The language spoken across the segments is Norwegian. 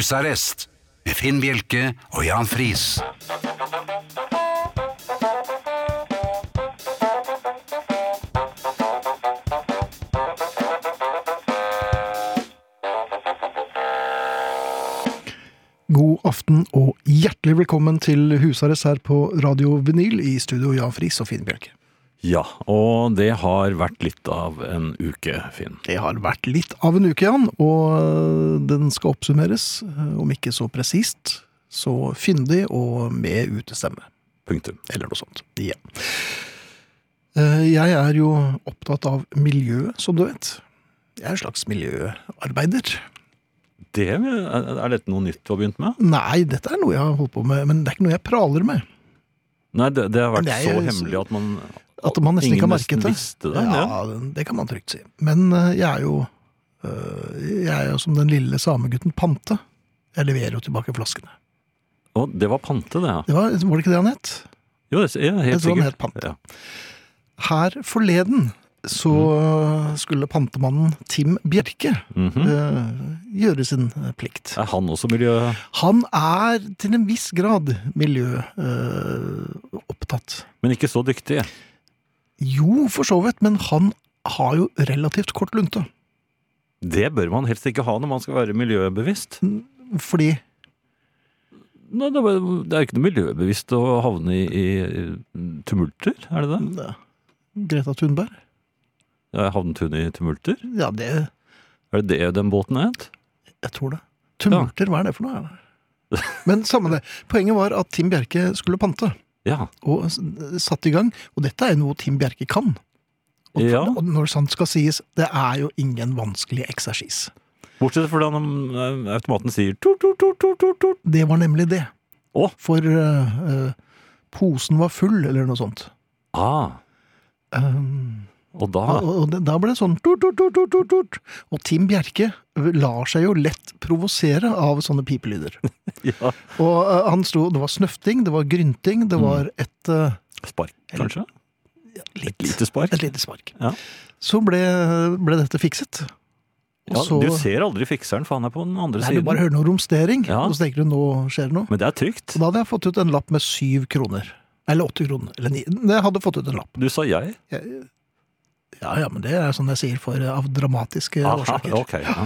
Husarrest med Finn Bjelke og Jan Friis. God aften og hjertelig velkommen til husarrest her på Radio Vinyl i studio Jan Friis og Finn Bjørke. Ja, og det har vært litt av en uke, Finn. Det har vært litt av en uke, Jan, og øh, den skal oppsummeres, øh, om ikke så presist, så fyndig og med utestemme, Punktum. eller noe sånt. Ja. Eh, Jeg er jo opptatt av miljø, som du vet. Jeg er en slags miljøarbeider. Det, er dette noe nytt du har begynt med? Nei, dette er noe jeg har holdt på med, men det er ikke noe jeg praler med. Nei, det, det har vært Men det er så jo- hemmelig at man At man nesten Ingen ikke har merket nesten det. visste det, ja, det kan man trygt si. Men eh, jeg er jo eh, Jeg er jo som den lille samegutten Pante. Jeg leverer jo tilbake flaskene. Å, det var pante, det. ja. Det var, var det ikke det han het? Jo, det, Jeg ja, helt tror han sikkert. sånn het pante. Ja. Her forleden så Mm. skulle pantemannen Tim Bjerke Mhm. eh, gjøre sin plikt. Er han også miljø... Han er til en viss grad eh, miljøopptatt. Men ikke så dyktig. jo, for så vidt, men han har jo relativt kort lunte. Det bør man helst ikke ha når man skal være miljøbevisst. Fordi Nei, det er det er jo ikke noe miljøbevisst å havne i, i tumulter, er det det? eh, Greta Thunberg Ja, Havnet hun i tumulter? Ja, det Er det det den båten het? Jeg tror det. Tumulter, hva er det for noe? Men samme det. Poenget var at Tim Bjerke skulle pante, Ja. og s- satte i gang. Og dette er jo noe Tim Bjerke kan. Og, Ja. og når sant skal sies, det er jo ingen vanskelig eksersis. Bortsett fra når eh, automaten sier tort, tort, tort, tort, tort, tort. Det var nemlig det. Å. For eh, eh, posen var full, eller noe sånt. Ah, Um, og da og, og det, da ble det sånn tut, tut, tut, tut, tut, tut. Og Tim Bjerke lar seg jo lett provosere av sånne pipelyder. ja, Og eh, han sto, det var snøfting, det var grynting, Mm. det var et eh, Spark, kanskje? litt, Et lite spark? Et lite spark. Ja. Så ble, ble dette fikset. Og Ja, så du ser aldri fikseren, for han er på den andre Nei, du siden. bare hører noe romstering, Ja. og så tenker du nå skjer det noe. Men det er trygt. Og da hadde jeg fått ut en lapp med syv kroner. Eller åtte kroner. Eller ni. Jeg hadde fått ut en lapp. Du sa jeg. Jeg, ja, ja, men det er sånn jeg sier for av dramatiske Aha, årsaker. ok. Ja.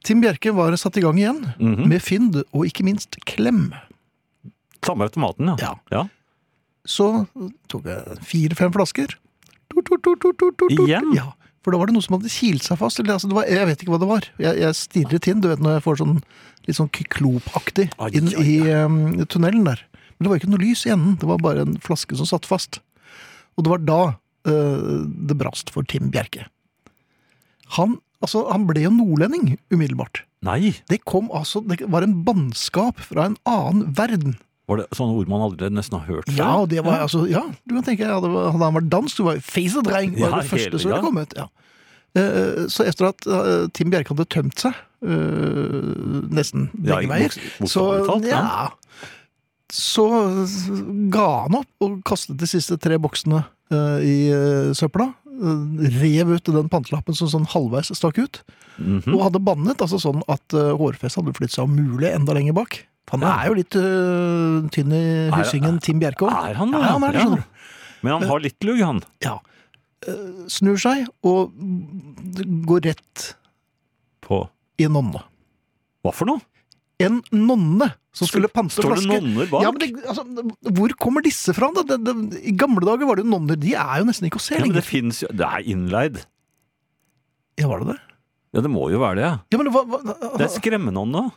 Tim Bjerke var satt i gang igjen, Mhm. med fynd og ikke minst klem. Samme automaten, ja. Ja. ja. Så tok jeg fire-fem flasker. Tut, tut, tut, tut, tut, tut, tut. Igjen? Ja, for da var det noe som hadde kilt seg fast. Eller, altså, det var, jeg vet ikke hva det var. Jeg, jeg stirret inn, du vet når jeg får sånn litt sånn kyklopaktig Ai, inn ai, i em, tunnelen der. Men det var ikke noe lys i enden, det var bare en flaske som satt fast. Og det var da eh, det brast for Tim Bjerke. Han, altså, han ble jo nordlending umiddelbart. Nei, Det kom altså, det var en bannskap fra en annen verden. var det sånne ord man aldri nesten har hørt før? Ja, og det var Ja. altså Ja, du kan tenke hadde, hadde han vært dansk, du var feisedreng, var Ja, det første hele- som ja. ville komme ut. Ja. Eh, Så etter at eh, Tim Bjerke hadde tømt seg, eh, nesten Ja, begge i veier, bok- bokstavelig så, talt, ja. ja, så ga han opp og kastet de siste tre boksene eh, i eh, søpla. eh, Rev ut den pantelappen som sånn halvveis stakk ut, Mhm. og hadde bannet altså sånn at eh, hårfestet hadde flyttet seg om mulig enda lenger bak. Han Ja. er jo litt eh, tynn i hyssingen, Tim Bjerke også. Er han det? Ja, han er det, skjønner du. Men han har litt lugg, han. Ja. Eh, Snur seg og går rett På i en nonne. Hva for noe? En nonne som skulle pante Står det flaske. nonner bak? Ja, men det, altså, hvor kommer disse fra? da? Det, det, I gamle dager var det jo nonner. De er jo nesten ikke å se Ja, men lenger. det fins jo Det er innleid. Ja, var det det? Ja, det må jo være det. ja. Ja, men hva, hva, Det er skremmenånda.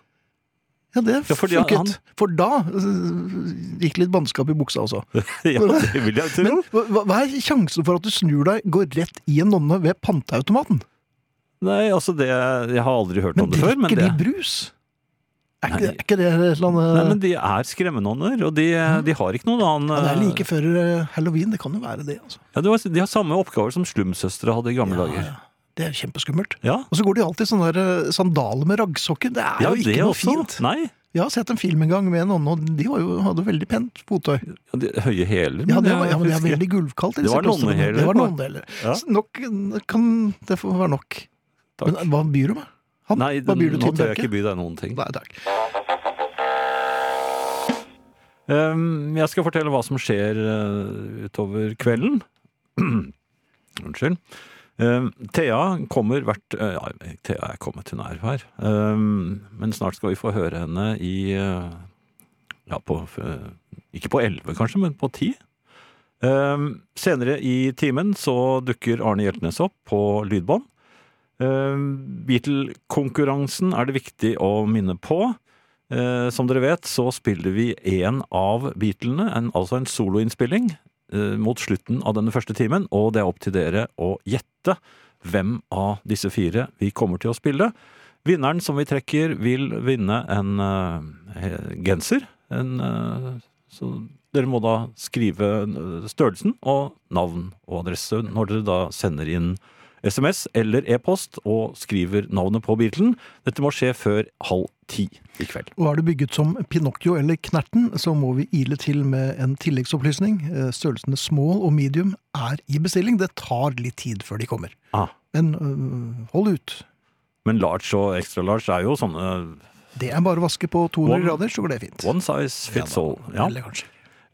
ja, det Ja, fordi funket. han- For da eh, gikk litt bannskap i buksa også. ja, det vil jeg Men tro. hva, hva er sjansen for at du snur deg, går rett i en nonne ved panteautomaten? Nei, altså det Jeg har aldri hørt Men om det før, men drikker de det brus? Er Nei. ikke, er ikke det et eller annet Nei, men de er skremmenånder, og de, de har ikke noen annen Ja, det er like før eh, halloween, det kan jo være det. altså. ja, det var, De har samme oppgaver som slumsøstre hadde i gamle dager. Ja, Det er jo kjempeskummelt. Ja, Og så går de alltid i sånne der, eh, sandaler med raggsokker. Det er ja jo ikke det noe også. fint. Nei. Jeg har sett en film en gang med en nonne, og de var jo, hadde veldig pent fottøy. Ja, de, høye hæler, Ja, det, var, ja, men det er husker- veldig gulvkaldt. i Det disse var klostrene. nonneheler. Det var nonneheler. Ja. Så Nok, kan det få være nok. Takk. Men hva byr du med? Han, Nei, hva byr du nå Tim tør jeg Bjerke? ikke by deg noen ting. Nei takk. Ehm, jeg skal fortelle hva som skjer eh, utover kvelden. Unnskyld. Ehm, Thea kommer hvert eh, ja, Thea er kommet til nerv her. Ehm, men snart skal vi få høre henne i eh, Ja, på eh, Ikke på elleve, kanskje, men på ti. Ehm, senere i timen så dukker Arne Hjeltnes opp på lydbånd. Ehm, Beatle-konkurransen er det viktig å minne på. Eh, som dere vet, så spiller vi én av Beatlene, en, altså en soloinnspilling, eh, mot slutten av denne første timen. Og det er opp til dere å gjette hvem av disse fire vi kommer til å spille. Vinneren som vi trekker, vil vinne en eh, he- genser. En, eh, så dere må da skrive eh, størrelsen og navn og adresse når dere da sender inn SMS eller e-post og skriver navnet på Beatlen. Dette må skje før halv ti i kveld. Og er du bygget som Pinocchio eller Knerten, så må vi ile til med en tilleggsopplysning. Eh, Størrelsene small og medium er i bestilling. Det tar litt tid før de kommer. Ah, Men øh, hold ut. men large og extra large er jo sånne Det er bare å vaske på 200 One- grader, så går det fint. one size fits all. Ja. Eller kanskje.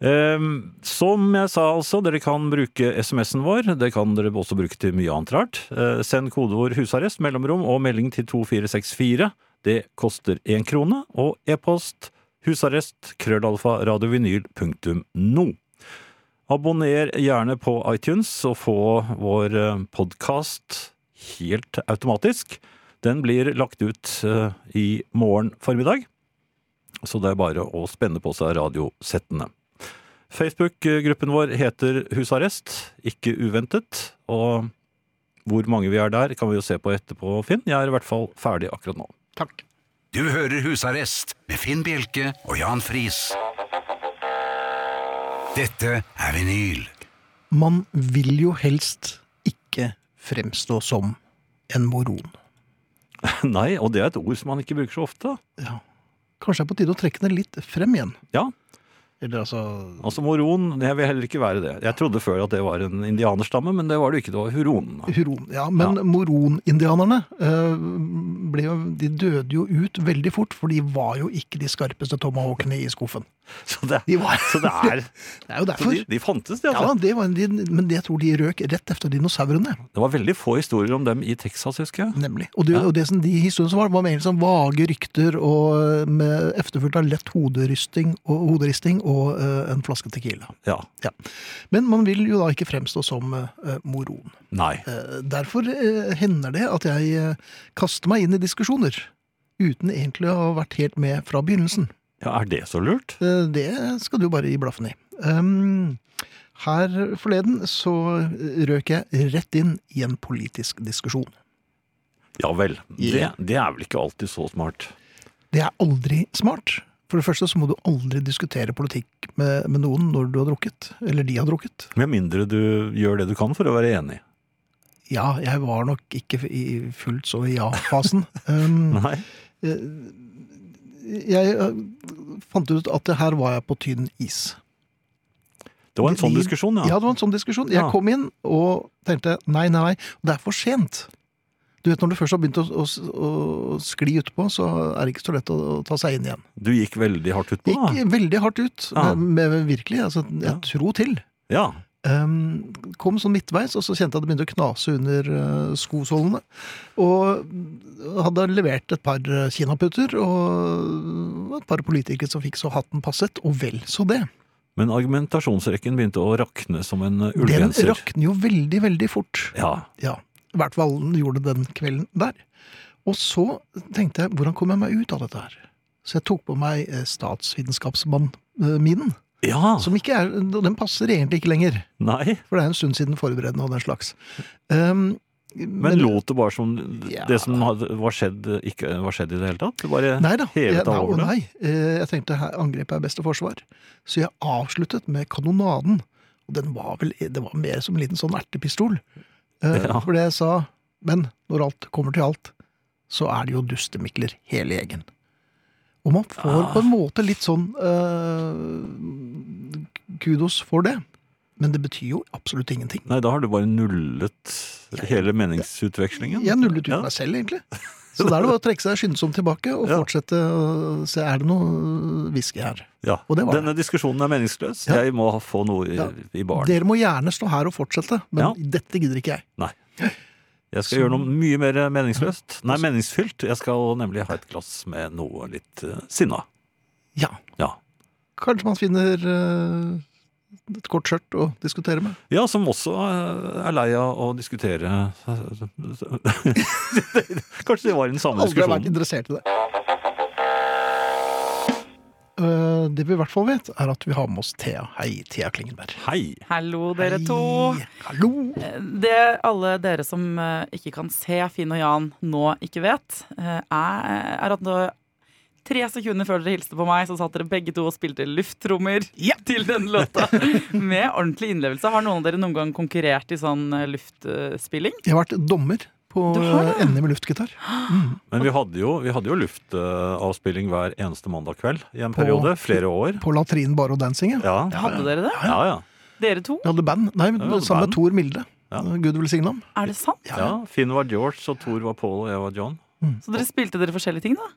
Ehm, som jeg sa altså, dere kan bruke SMS-en vår. Det kan dere også bruke til mye annet rart. Eh, send kodeord 'husarrest', mellomrom og melding til 2464. Det koster én krone. Og e-post husarrest krøllalfa radiovinyl.no. Abonner gjerne på iTunes og få vår podkast helt automatisk. Den blir lagt ut eh, i morgen formiddag, så det er bare å spenne på seg radiosettene. Facebook-gruppen vår heter Husarrest, ikke uventet, og hvor mange vi er der, kan vi jo se på etterpå, Finn. Jeg er i hvert fall ferdig akkurat nå. Takk. Du hører Husarrest med Finn Bjelke og Jan Friis. Dette er vinyl. Man vil jo helst ikke fremstå som en moron. Nei, og det er et ord som man ikke bruker så ofte. Ja. Kanskje det er på tide å trekke den litt frem igjen. Ja, Eller altså altså moron, jeg vil heller ikke være det. Jeg trodde før at det var en indianerstamme, men det var det jo ikke, det var huronene. Huron. Ja, men moronindianerne eh, ble jo, de døde jo ut veldig fort, for de var jo ikke de skarpeste tomahawkene i skuffen. Så det, De var- så det er, Det er jo så derfor. de, de fantes, de Ja, altså. det var, de, men jeg tror de røk rett efter dinosaurene, Det var veldig få historier om dem i Texas, husker jeg. nemlig. Og det, og det som de historiene som var, var mer som vage rykter, og eh, med efterfulgt av lett hoderysting og, hoderisting og eh, en flaske tequila. Ja, Ja. Men man vil jo da ikke fremstå som eh, moron. nei. Eh, Derfor eh, hender det at jeg eh, kaster meg inn i diskusjoner uten egentlig å ha vært helt med fra begynnelsen. Ja, er det så lurt? Eh, Det skal du bare gi blaffen i. Um, her forleden så eh, røk jeg rett inn i en politisk diskusjon. Ja vel, det, Ja. det er vel ikke alltid så smart. Det er aldri smart. For det første så må du aldri diskutere politikk med, med noen når du har drukket. Eller de har drukket. Med mindre du gjør det du kan for å være enig. Ja, jeg var nok ikke i fullt så i ja-fasen. Um, Nei. jeg eh, fant ut at det her var jeg på tynn is. Det var en sånn De- diskusjon, Ja, ja. det var en sånn diskusjon. Jeg Ja. kom inn og tenkte nei, nei, nei, det er for sent. Du vet, Når du først har begynt å, å, å skli utpå, så er det ikke så lett å, å ta seg inn igjen. Du gikk veldig hardt utpå, Det da. gikk veldig hardt ut, Ah. Ja. men men virkelig. Altså, jeg Ja. tro til. Ja. Um, kom sånn midtveis, og så kjente jeg at det begynte å knase under eh, skosålene. Og hadde levert et par eh, kinaputter og et par politikere som fikk så hatten passet, og vel så det. Men argumentasjonsrekken begynte å rakne som en uh, Den ullgenser. rakner jo veldig, veldig fort. Ja. Ja, i hvert fall gjorde det den kvelden der. Og så tenkte jeg, hvordan kommer jeg meg ut av dette her? Så jeg tok på meg eh, statsvitenskapsminen, ja. som ikke er, den passer egentlig ikke lenger, Nei. for det er en stund siden forberedende og den slags. Um, Men lot det bare som Ja. det som hadde, var skjedd, ikke var skjedd i det hele tatt? Du bare Nei da, jeg, hevet deg nei, over det? nei. Eh, jeg tenkte her angrep er beste forsvar. Så jeg avsluttet med kanonaden. Og den var vel, det var mer som en liten sånn ertepistol. Eh, Ja. For det jeg sa, men når alt kommer til alt, så er det jo dustemikler hele gjengen. Og man får Ah. på en måte litt sånn eh, kudos for det. Men det betyr jo absolutt ingenting. Nei, da har du bare nullet hele meningsutvekslingen. Jeg nullet ut Ja. meg selv, egentlig. Så da er det bare å trekke seg skyndsomt tilbake og Ja. fortsette å se er det noe whisky her. Ja, Og det var Denne diskusjonen er meningsløs. Ja. Jeg må ha- få noe i, Ja. i baren. Dere må gjerne stå her og fortsette, men Ja. dette gidder ikke jeg. Jeg skal gjøre noe mye mer meningsløst. Nei, meningsfylt. Jeg skal nemlig ha et glass med noe litt eh, sinna. Ja, Ja. Kanskje man finner eh, et kort skjørt å diskutere med. ja, som også eh, er lei av å diskutere Kanskje det var i den samme Aldri har vært diskusjonen. interessert i det. Eh, det vi i hvert fall vet, er at vi har med oss Thea. Hei, Thea Klingenberg. Hei! Hallo, dere to. Hei. Hallo! Det alle dere som eh, ikke kan se Finn og Jan nå ikke vet, eh, er er at nå, tre sekunder før dere hilste på meg, så satt dere begge to og spilte lufttrommer til den låta. Med ordentlig innlevelse. Har noen av dere noen gang konkurrert i sånn eh, luftspilling? Jeg har vært dommer på Du har det? eh, NM i luftgitar. Men vi hadde jo, vi hadde jo luftavspilling hver eneste mandag kveld i en På- periode. Flere år. På latrinen bare og dancing. Ja. Ja, Hadde dere det? ja. ja. Dere to? Vi hadde band. Nei, vi hadde sammen band. med Tor Milde. Ja. Gud velsigne ham. Er det sant? ja. Finn var George, og Thor var Paul, og jeg var John. Så dere spilte dere forskjellige ting, da?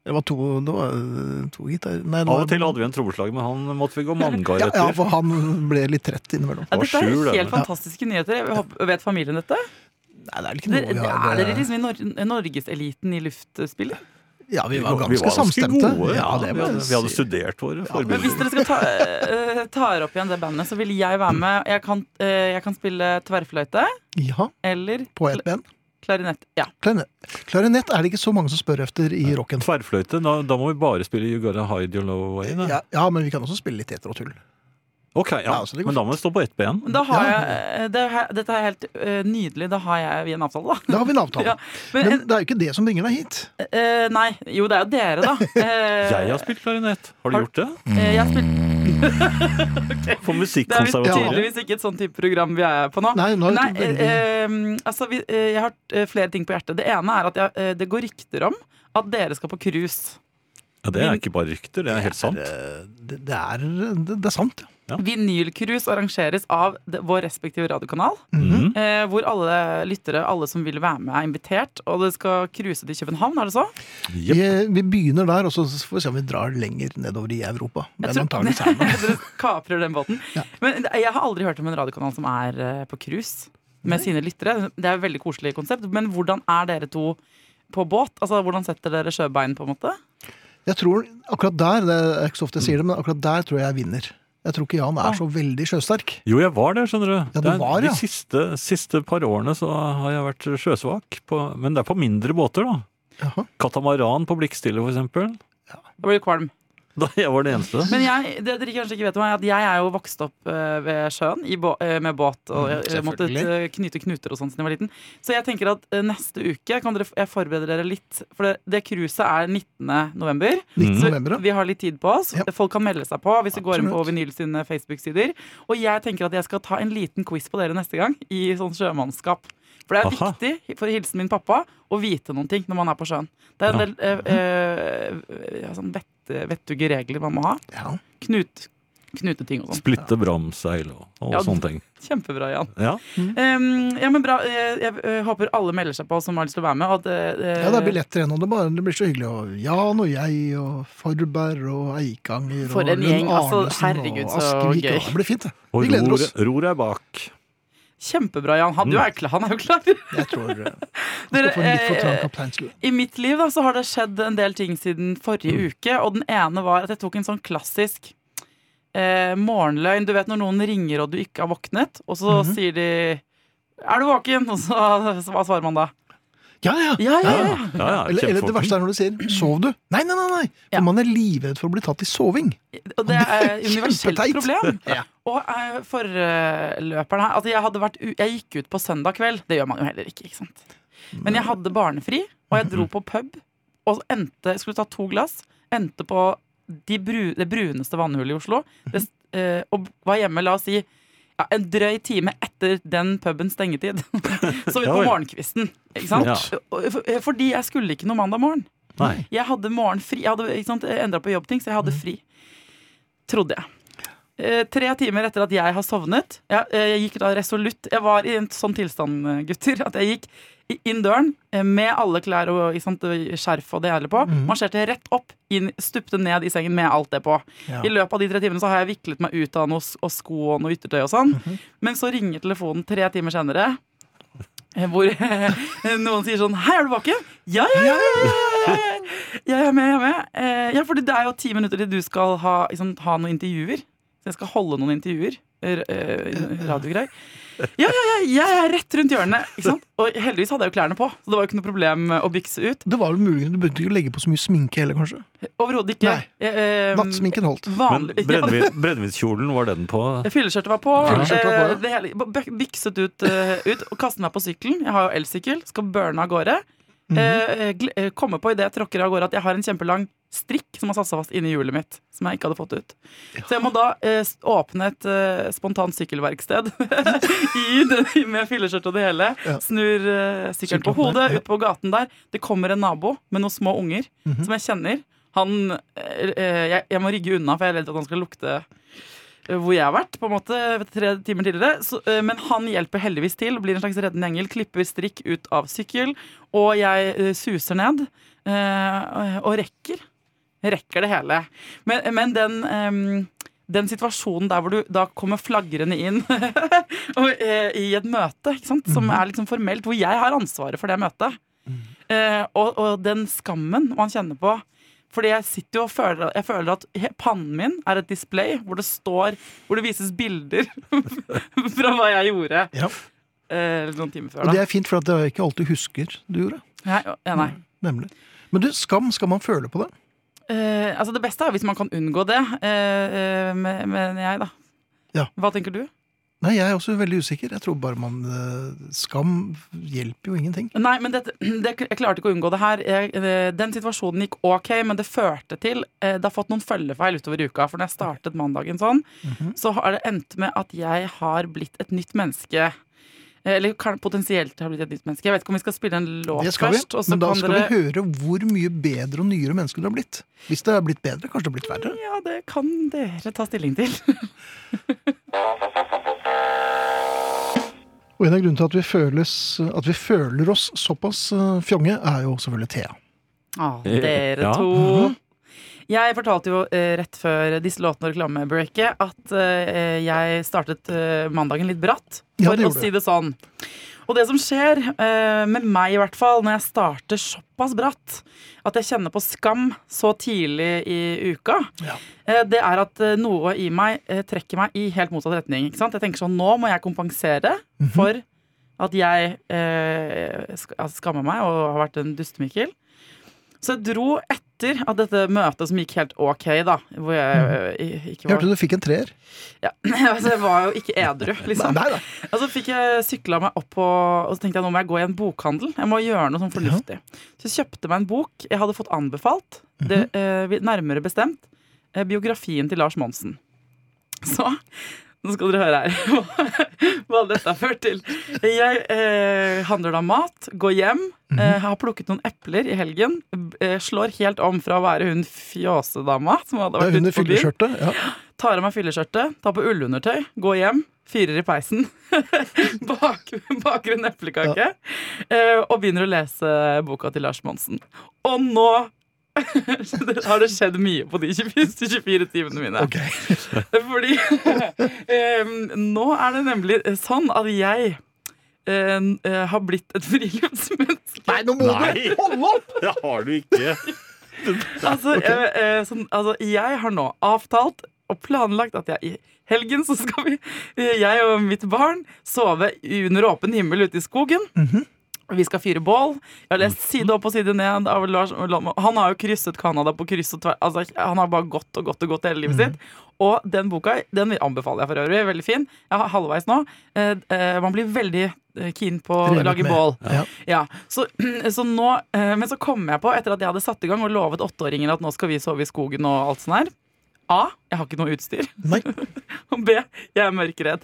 Det var to, det var, eh, to gitarer Nei, det Av var- og til hadde vi en trommeslager, men han måtte vi gå manngard ja, ja, etter. for han ble litt trett innimellom. Ja, var dette er skjul, det, helt men. fantastiske nyheter. Jeg håper- Vet familien dette? Nei, det er ikke noe Dere, vi har er dere eh, liksom i Nor norgeseliten i luftspilling? Ja, vi Vi var ganske samstemte. gode. Ja, det vi, må jeg hadde, vi hadde si. studert våre Men hvis forbilder. dere skal ta, eh, tar opp igjen det bandet, så vil jeg være med. Jeg kan, eh, jeg kan spille tverrfløyte Ja, eller på ett ben. klarinett. Ja. Klarinett. Klarinett er det ikke så mange som spør efter i rocken. Tverrfløyte, da, da må vi bare spille You Gotta Hide Your Low Way. Da. Ja, ja, men vi kan også spille litt etter og tull. Ok, ja. Ja, så det går Men da må vi stå på ett ben. Men Da har Ja. jeg, eh, det, her- dette er helt eh, nydelig. Da har jeg vi en avtale, da. Da har vi en avtale. Ja. Men, Men det er jo ikke det som bringer deg hit. eh, eh, nei, jo, det er jo dere, da. Eh, Jeg har spilt klarinett. Har du Har- gjort det? Mm. eh, jeg har spilt For Det er jo musikkonservatoriet? tydeligvis ikke et sånn type program vi er på nå. Nei, nå er det Nei, veldig- eh, eh, altså, vi, eh, jeg har eh, flere ting på hjertet. Det ene er at jeg, eh, det går rykter om at dere skal på cruise. Ja, det er ikke bare rykter, det er helt sant. Eh, Det, det, er, det, det er sant. ja. Vinylcruise arrangeres av det- vår respektive radiokanal. Mhm. Eh, hvor alle lyttere, alle som vil være med, er invitert. Og det skal cruise til København, er det så? Jepp. Vi, eh, vi begynner der, og så får vi se om vi drar lenger nedover i Europa. Men tror- antagelig så er det Dere kaprer den båten. Men jeg har aldri hørt om en radiokanal som er eh, på cruise med sine lyttere. Det er et veldig koselig konsept. Men hvordan er dere to på båt? Altså, Hvordan setter dere sjøbein, på en måte? Jeg tror akkurat der, det er ikke så ofte jeg sier det, men akkurat der tror jeg jeg vinner. Jeg tror ikke Jan er så veldig sjøsterk. Jo, jeg var der, skjønner du du. Det er- var, ja. De siste, siste par årene så har jeg vært sjøsvak, på, men det er på mindre båter, da. Jaha. Katamaran på Blikkstille, for eksempel. Da blir du kvalm. Da jeg var det eneste. Men jeg, det dere kanskje ikke vet om er at jeg er jo vokst opp eh, ved sjøen i bå eh, med båt. Mm, Og jeg, jeg måtte ut, eh, knyte knuter og sånn siden jeg var liten. Så jeg tenker at eh, neste uke kan dere, f- jeg forbereder dere litt. For det, det cruiset er 19. november. 19. Mm. november, ja. Vi har litt tid på oss. Ja. Folk kan melde seg på hvis vi går inn på Absolutt. Vinyl sine Facebook-sider. Og jeg tenker at jeg skal ta en liten quiz på dere neste gang i sånn sjømannskap. For det er Aha. viktig for å hilse min pappa å vite noen ting når man er på sjøen. Det er en Ja. del eh, eh, ja, sånn vett, vettuge regler man må ha. ja. Knut, knuteting og sånn. Splitte bramseil og, og Ja, sånne ting. Kjempebra, Jan. Ja. Em, ja, men bra. Eh, Jeg eh, håper alle melder seg på som har lyst til å være med. Og at, eh, Ja, det er billetter igjen, og det, bare, det blir så hyggelig. Og Jan og jeg og Forberg og Eikanger For en og gjeng, altså, Arnesen og herregud, så Askvik. gøy. og- Det blir fint, det. Og Vi gleder ror, oss. ror er bak. Kjempebra, Jan. Han, du Mm. er klar, han er jo klar. Jeg tror eh, vi Dere, skal få en litt for trang eh, kapteinskue. I mitt liv da, så har det skjedd en del ting siden forrige Mm. uke, og den ene var at jeg tok en sånn klassisk eh, morgenløgn. Du vet når noen ringer og du ikke har våknet, og så Mhm. sier de 'Er du våken?' Og så, så hva svarer man da? Ja, ja. Ja, ja, ja. Ja, ja, Eller, eller det kjempefolk. verste er når du sier 'sov du'? Nei, nei, nei! nei. For Ja. man er livredd for å bli tatt i soving. Og det er et universelt Kjempeteit. problem. Ja. Og eh, forløperen her altså jeg, hadde vært, u- jeg gikk ut på søndag kveld. Det gjør man jo heller ikke. ikke sant? Men jeg hadde barnefri, og jeg dro på pub og endte, skulle ta to glass. Endte på de bru, det bruneste vannhullet i Oslo. Det, eh, og var hjemme, la oss si, ja, en drøy time etter den pubens stengetid. Så ut Ja på vel. morgenkvisten. Ikke sant? Ja. Og- for- Fordi jeg skulle ikke noe mandag morgen. Nei. Jeg hadde morgenfri. Jeg hadde ikke sant, endra på jobbting, så jeg hadde fri. Trodde jeg. Eh, tre timer etter at jeg har sovnet Jeg, eh, jeg gikk da resolutt Jeg var i en sånn tilstand, eh, gutter, at jeg gikk i- inn døren eh, med alle klær og ikke sant, eh, skjerf og det hele på. Mhm. Marsjerte rett opp, inn, stupte ned i sengen med alt det på. Ja. I løpet av de tre timene så har jeg viklet meg ut av noe, s- og sko og noe yttertøy og sånn. Men så ringer telefonen tre timer senere, eh, hvor eh, noen sier sånn Hei, er du våken? Ja, ja, ja! ja, ja, ja. Jeg er med, jeg er med. Eh, Ja, fordi det er jo ti minutter til du skal ha, liksom, ha noen intervjuer. Så jeg skal holde noen intervjuer. r- eh, Radiogreier. Ja, ja, ja, jeg er rett rundt hjørnet. Ikke sant? Og heldigvis hadde jeg jo klærne på, så det var jo ikke noe problem å bykse ut. Det var vel muligens Du begynte ikke å legge på så mye sminke heller, kanskje? Overhodet ikke. Nei. Eh, eh, Nattsminken holdt. Men Vanlig. Ja, brennevin- brennevinskjolen, var den på? Fylleskjørtet var på. Fylleskjørtet var på, ja. eh, det hele, b- b- bykset ut, eh, ut og kastet meg på sykkelen. Jeg har jo elsykkel, skal burne av gårde. Mhm. Eh, gl- eh, Komme på idet jeg tråkker av gårde at jeg har en kjempelang strikk som har satt seg fast inni hjulet mitt. Som jeg ikke hadde fått ut. Så jeg må da eh, s- åpne et eh, spontant sykkelverksted i det, med fylleskjørt og det hele. Ja. Snur eh, sykkelen på Sykkelen opp der, hodet, ja. ut på gaten der. Det kommer en nabo med noen små unger Mhm. som jeg kjenner. Han, eh, eh, jeg, jeg må rygge unna, for jeg er redd at han skal lukte eh, hvor jeg har vært, på en måte, tre timer tidligere. Så, eh, men han hjelper heldigvis til, blir en slags reddende engel, klipper strikk ut av sykkel, og jeg eh, suser ned eh, og rekker. Rekker det hele. Men, men den, em, den situasjonen der hvor du da kommer flagrende inn og, eh, i et møte, ikke sant? Mhm. som er liksom formelt, hvor jeg har ansvaret for det møtet, eh, og, og den skammen man kjenner på fordi jeg sitter jo og føler, jeg føler at he- pannen min er et display hvor det står Hvor det vises bilder fra hva jeg gjorde Ja. eh, noen timer før. Og det Da. er fint, for at jeg ikke alltid husker du gjorde. Nei, ja, nei. Nemlig. Men du, skam, skal man føle på det? Eh, altså det beste er hvis man kan unngå det, eh, eh, men men jeg, da. Ja. Hva tenker du? Nei, jeg er også veldig usikker. Jeg tror bare man eh, Skam hjelper jo ingenting. Nei, men dette- det, jeg klarte ikke å unngå det her. Jeg, eh, den situasjonen gikk ok, men det førte til eh, Det har fått noen følgefeil utover uka. For når jeg startet mandagen sånn, Mhm. så har det endt med at jeg har blitt et nytt menneske. Eh, Eller kan- potensielt har blitt et nytt menneske. Jeg vet ikke om vi skal spille en låt Det skal vi. først. og så Men da kan skal dere- vi høre hvor mye bedre og nyere menneske du har blitt. Hvis det har blitt bedre, kanskje det har blitt verre. Ja, det kan dere ta stilling til. Og en av grunnene til at vi, føles, at vi føler oss såpass eh, fjonge, er jo selvfølgelig Thea. Å, Eh, dere ja. to. Jeg fortalte jo eh, rett før disse låtene og reklamebreaket at eh, jeg startet eh, mandagen litt bratt, Ja, for det å gjorde du. si det sånn. Og det som skjer, eh, med meg i hvert fall, når jeg starter såpass bratt at jeg kjenner på skam så tidlig i uka, Ja. eh, det er at eh, noe i meg eh, trekker meg i helt motsatt retning. Ikke sant? Jeg tenker sånn, nå må jeg kompensere Mhm. for at jeg eh, sk- altså skammer meg og har vært en dustemikkel. Så jeg dro etter at dette møtet som gikk helt ok, da, hvor jeg eh, i- Jeg ikke var Mhm. hørte du fikk en treer. ja. altså, Jeg var jo ikke edru, liksom. Nei, nei. Og så fikk jeg sykla meg opp på, og så tenkte jeg nå må jeg gå i en bokhandel. Jeg må gjøre noe sånn fornuftig. Så jeg kjøpte meg en bok jeg hadde fått anbefalt, det, eh, vi- nærmere bestemt eh, biografien til Lars Monsen. Så nå skal dere høre her hva- hva dette har ført til. Jeg eh, handler da mat, går hjem, eh, har plukket noen epler i helgen. b- Eh, slår helt om fra å være hun fjåsedama som Det hadde er vært ute under på byen. fylleskjørtet. Ja. Tar av meg fylleskjørtet, tar på ullundertøy, går hjem, fyrer i peisen. Bak, baker en eplekake. eh, Og begynner å lese boka til Lars Monsen. Og nå har det skjedd mye på de 24, 24 timene mine. Ok. Fordi em, nå er det nemlig sånn at jeg em, eh, har blitt et friluftsmenneske. Nei, nå må Nei. du holde opp! Det har du ikke. Altså, eh, eh, sånn, altså, jeg har nå avtalt og planlagt at jeg i helgen så skal vi, eh, jeg og mitt barn, sove under åpen himmel ute i skogen. Mhm. Vi skal fyre bål. Jeg har lest side opp og side ned. Av Lars, han har jo krysset Canada på kryss og tvers. Altså, han har bare gått og gått og gått hele livet Mhm. sitt. Og den boka den anbefaler jeg for øvrig. Veldig fin. Jeg har halvveis nå. Eh, eh, man blir veldig eh, keen på å Revet lage med. bål. Ja. Ja, så, så nå, eh, Men så kom jeg på, etter at jeg hadde satt i gang og lovet åtteåringer at nå skal vi sove i skogen og alt sånt her A. Jeg har ikke noe utstyr. Nei. Og B. Jeg er mørkeredd.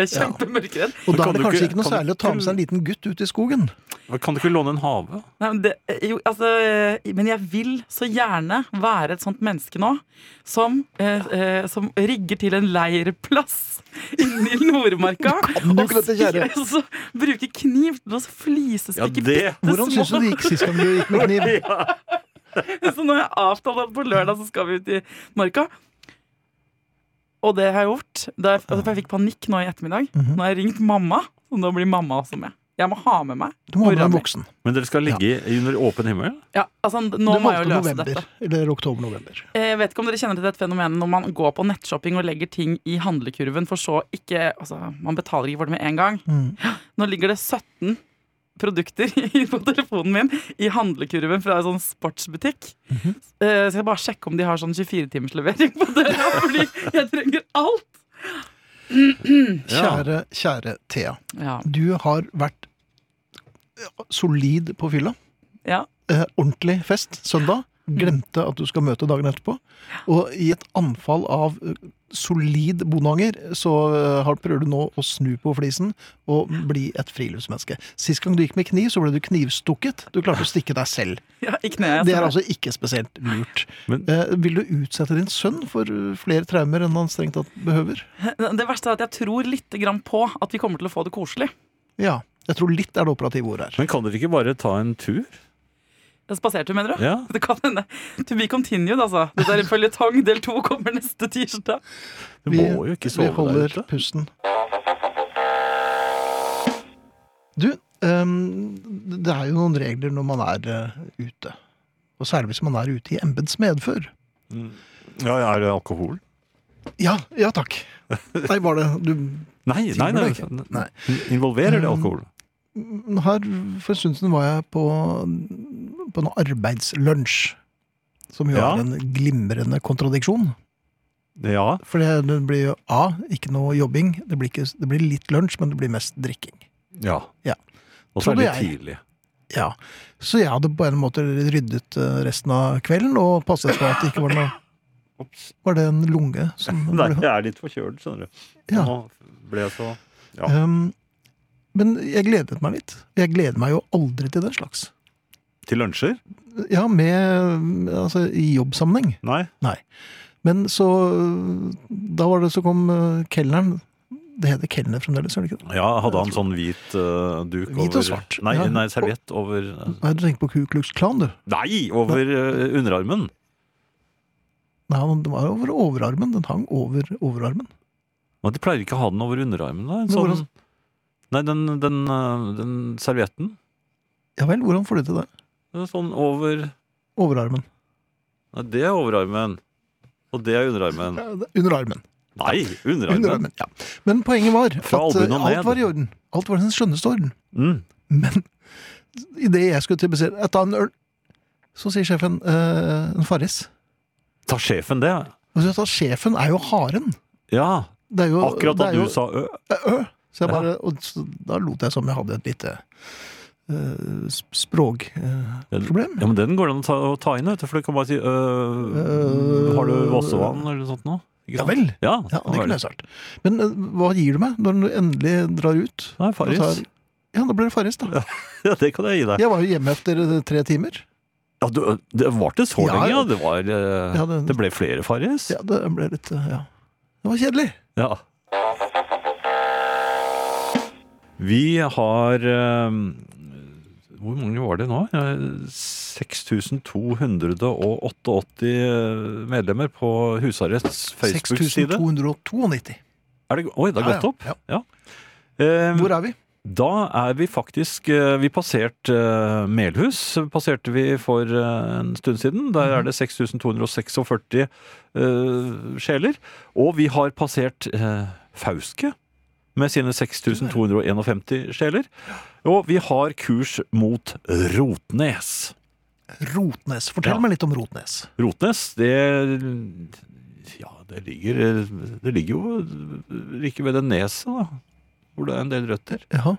Jeg er Ja. kjempemørkeredd. Og Men da kan er det du kanskje ikke- ikke noe kan du særlig å ta med seg en liten gutt ut i skogen. Kan du ikke låne en hage? Nei, men, det, jo, altså, eh, men jeg vil så gjerne være et sånt menneske nå som, eh, eh, som rigger til en leirplass inne i Nordmarka. du og ikke dette, kjære? spi- og så bruker kniv til å Ja, flisestykke det Hvordan syns du det gikk sist gang du gikk med kniv? Så nå har jeg avtalt at på lørdag så skal vi ut i marka. Og det har jeg gjort. Da jeg, altså, for jeg fikk panikk nå i ettermiddag. Mhm. Nå har jeg ringt mamma, og nå blir mamma også med. Jeg må ha med meg. Du må ha med en mora mi. voksen. Men dere skal ligge under åpen himmel? Ja, altså, Du nå må jeg valgte jo løse november, dette. eller oktober-november. Jeg vet ikke om dere kjenner til dette fenomenet når man går på nettshopping og legger ting i handlekurven, for så ikke Altså, man betaler ikke for det med en gang. Mm. Nå ligger det 17 produkter i- på telefonen min i handlekurven fra en sånn sportsbutikk. Mhm. Eh, Så jeg bare sjekke om de har sånn 24-timerslevering på døra, fordi jeg trenger alt. Ja. Kjære, kjære Thea. Ja. Du har vært eh, solid på fylla. ja. Mm. Eh, ordentlig fest søndag. Glemte at du skal møte dagen etterpå. Og i et anfall av eh, solid bondeanger, så eh, har- prøver du nå å snu på flisen og bli et friluftsmenneske. Sist gang du gikk med kniv, så ble du knivstukket. Du klarte å stikke deg selv. ja I kneet. Det er altså ikke spesielt lurt. Men- Eh, vil du utsette din sønn for eh, flere traumer enn han strengt tatt behøver? Det verste er at jeg tror litt grann på at vi kommer til å få det koselig. Ja. Jeg tror litt er det operative ordet her. Men kan dere ikke bare ta en tur? Spasertur, mener du? Ja. Det kan hende. To be continued, altså. Det der føljetong del to kommer neste tirsdag. Du Vi- må jo ikke sove Vi holder der ute. pusten. Du, ehm, det er jo noen regler når man er eh, ute. Og særlig hvis man er ute i embets medfør. Mm. Ja, er det alkohol? Ja, ja takk. Nei, var det du Nei, nei, Timer nei, det ikke? Nei. Mm. Involverer det alkohol? Her for en stund siden var jeg på, på en arbeidslunsj. Som jo Ja. er en glimrende kontradiksjon. Ja. For det det blir jo A, ikke noe jobbing. Det blir, ikke, det blir litt lunsj, men det blir mest drikking. ja. Ja. Og så er Trodde det jeg. tidlig. Ja, Så jeg hadde på en måte ryddet eh, resten av kvelden og passet på at det ikke var noe Ops. Var det en lunge som Nei, ble jeg er litt forkjølt, skjønner du. Ja. Nå ble jeg så ja. Um, Men jeg gledet meg litt. Jeg gleder meg jo aldri til den slags. Til lunsjer? Ja, med Altså, i jobbsammenheng. Nei. Men så øh, Da var det så kom øh, kelneren. Det heter kelner fremdeles, gjør det ikke det? Ja, hadde han sånn hvit eh, duk Hvit og over svart. Nei, Ja. nei serviett over eh, Nei, du tenker på Ku Klux Klan, du. Nei! Over eh, underarmen. Nei, han- den var over overarmen. Den hang over overarmen. Men de pleier ikke å ha den over underarmen, da. En Men sånn, hvordan- nei, den, den, eh, den servietten. Ja vel, hvordan får du til det? Den er Sånn over Overarmen. Nei, det er overarmen. Og det er underarmen. Ja, det- Under armen. Nei, underarmen. Under armen, ja. Men poenget var at Fra albuen og eh, alt ned. var i orden. Alt var i sin skjønneste orden. Mm. Men idet jeg skulle til å bestille jeg tar en øl, så sier sjefen eh, en farris. Ta sjefen det. Og så sa sjefen er jo haren. Ja, Det er jo, akkurat da det er du jo- sa ø. det er Ø. øh. Så jeg bare, og så, da lot jeg som jeg hadde et lite uh, Ja, du- språkproblem. Ja, men den går det an å ta, å ta inn, vet du, for du kan bare si ø. Øh. Har du vassevann eller noe sånt nå? Ikke ja sant? vel! Ja, Ja, det kunne jeg sagt. Men eh, hva gir du meg når du endelig drar ut? Nei, Og Farris. tar- Ja, da blir det farris, da. Ja, det kan jeg gi deg. Jeg var jo hjemme etter eh, tre timer. Ja, du, det varte så Ja, lenge, ja. ja. Det, var, eh, Ja, det- det ble flere Farris. Ja, det ble litt eh, Ja. Det var kjedelig. Ja. Vi har eh, Hvor mange var det nå? Eh, 6288 medlemmer på Husarrests Facebook-side. 6292. Er det, oi, det har Ja, gått ja, opp? Eh, Hvor er vi? da er vi faktisk eh, Vi passerte eh, Melhus. Passerte vi for eh, en stund siden. Der er det 6246 eh, sjeler. Og vi har passert eh, Fauske med sine 6251 sjeler. Og vi har kurs mot Rotnes. Rotnes. Fortell Ja. meg litt om Rotnes. Rotnes, det Ja, det ligger Det ligger jo like ved det neset, da. Hvor det er en del røtter. Ja,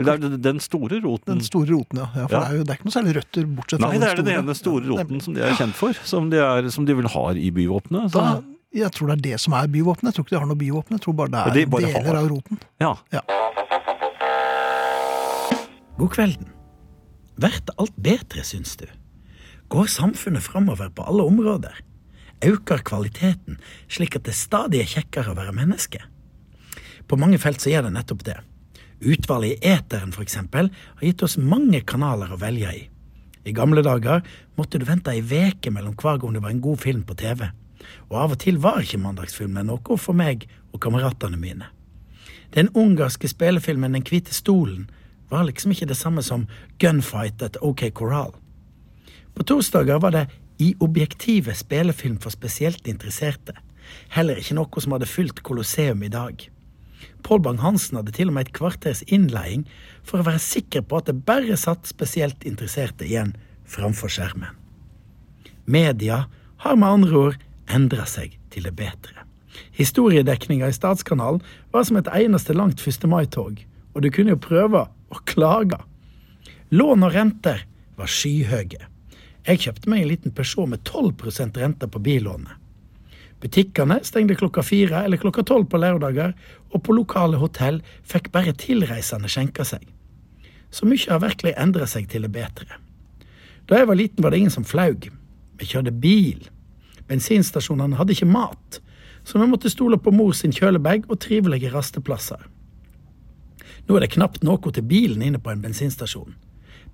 Eller det er den store roten. Den store roten, ja. ja for Ja. Det, er jo, det er ikke noe særlig røtter, bortsett fra Nei, det er den store. ene store Ja, roten nemlig. som de er kjent for. Som de, er, som de vel har i byvåpenet. Da, Så, jeg tror det er det som er byvåpenet. Jeg tror ikke de har noe byvåpen. Jeg tror bare det Ja, er de bare har. deler av roten. ja. God kvelden. Blir det alt bedre, syns du? Går samfunnet framover på alle områder? Øker kvaliteten, slik at det stadig er kjekkere å være menneske? På mange felt så gjør det nettopp det. Utvalget i Eteren, for eksempel, har gitt oss mange kanaler å velge i. I gamle dager måtte du vente ei veke mellom hver gang det var en god film på TV. Og av og til var ikke mandagsfilmen noe for meg og kameratene mine. Den ungarske spillefilmen Den hvite stolen var liksom ikke det samme som Gunfight at OK Corral. På torsdager var det I objektive spillefilm for spesielt interesserte. Heller ikke noe som hadde fylt Colosseum i dag. Pål Bang-Hansen hadde til og med et kvarters innleiing for å være sikker på at det bare satt spesielt interesserte igjen framfor skjermen. Media har med andre ord endra seg til det bedre. Historiedekninga i Statskanalen var som et eneste langt 1. mai-tog, og du kunne jo prøve å klage. Lån og renter var skyhøye. Jeg kjøpte meg en liten Peugeot med 12 renter på billånet. Butikkene stengte klokka fire eller klokka tolv på lørdager, og på lokale hotell fikk bare tilreisende skjenke seg. Så mye har virkelig endra seg til det bedre. Da jeg var liten, var det ingen som flaug. Vi kjørte bil. Bensinstasjonene hadde ikke mat, så vi måtte stole på mor sin kjølebag og trivelige rasteplasser. Nå er det knapt noe til bilen inne på en bensinstasjon.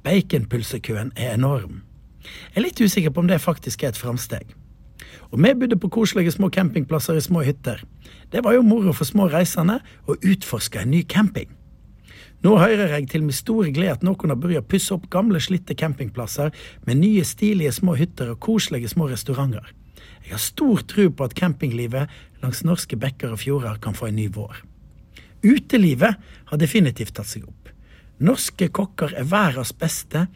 Baconpølsekøen er enorm. Jeg er litt usikker på om det faktisk er et framsteg. Og vi bodde på koselige små campingplasser i små hytter. Det var jo moro for små reisende å utforske en ny camping. Nå hører jeg til min store glede at noen har begynt å pusse opp gamle, slitte campingplasser med nye, stilige små hytter og koselige små restauranter. Jeg har stor tro på at campinglivet langs norske bekker og fjorder kan få en ny vår. Utelivet har definitivt tatt seg opp. Norske kokker er verdens beste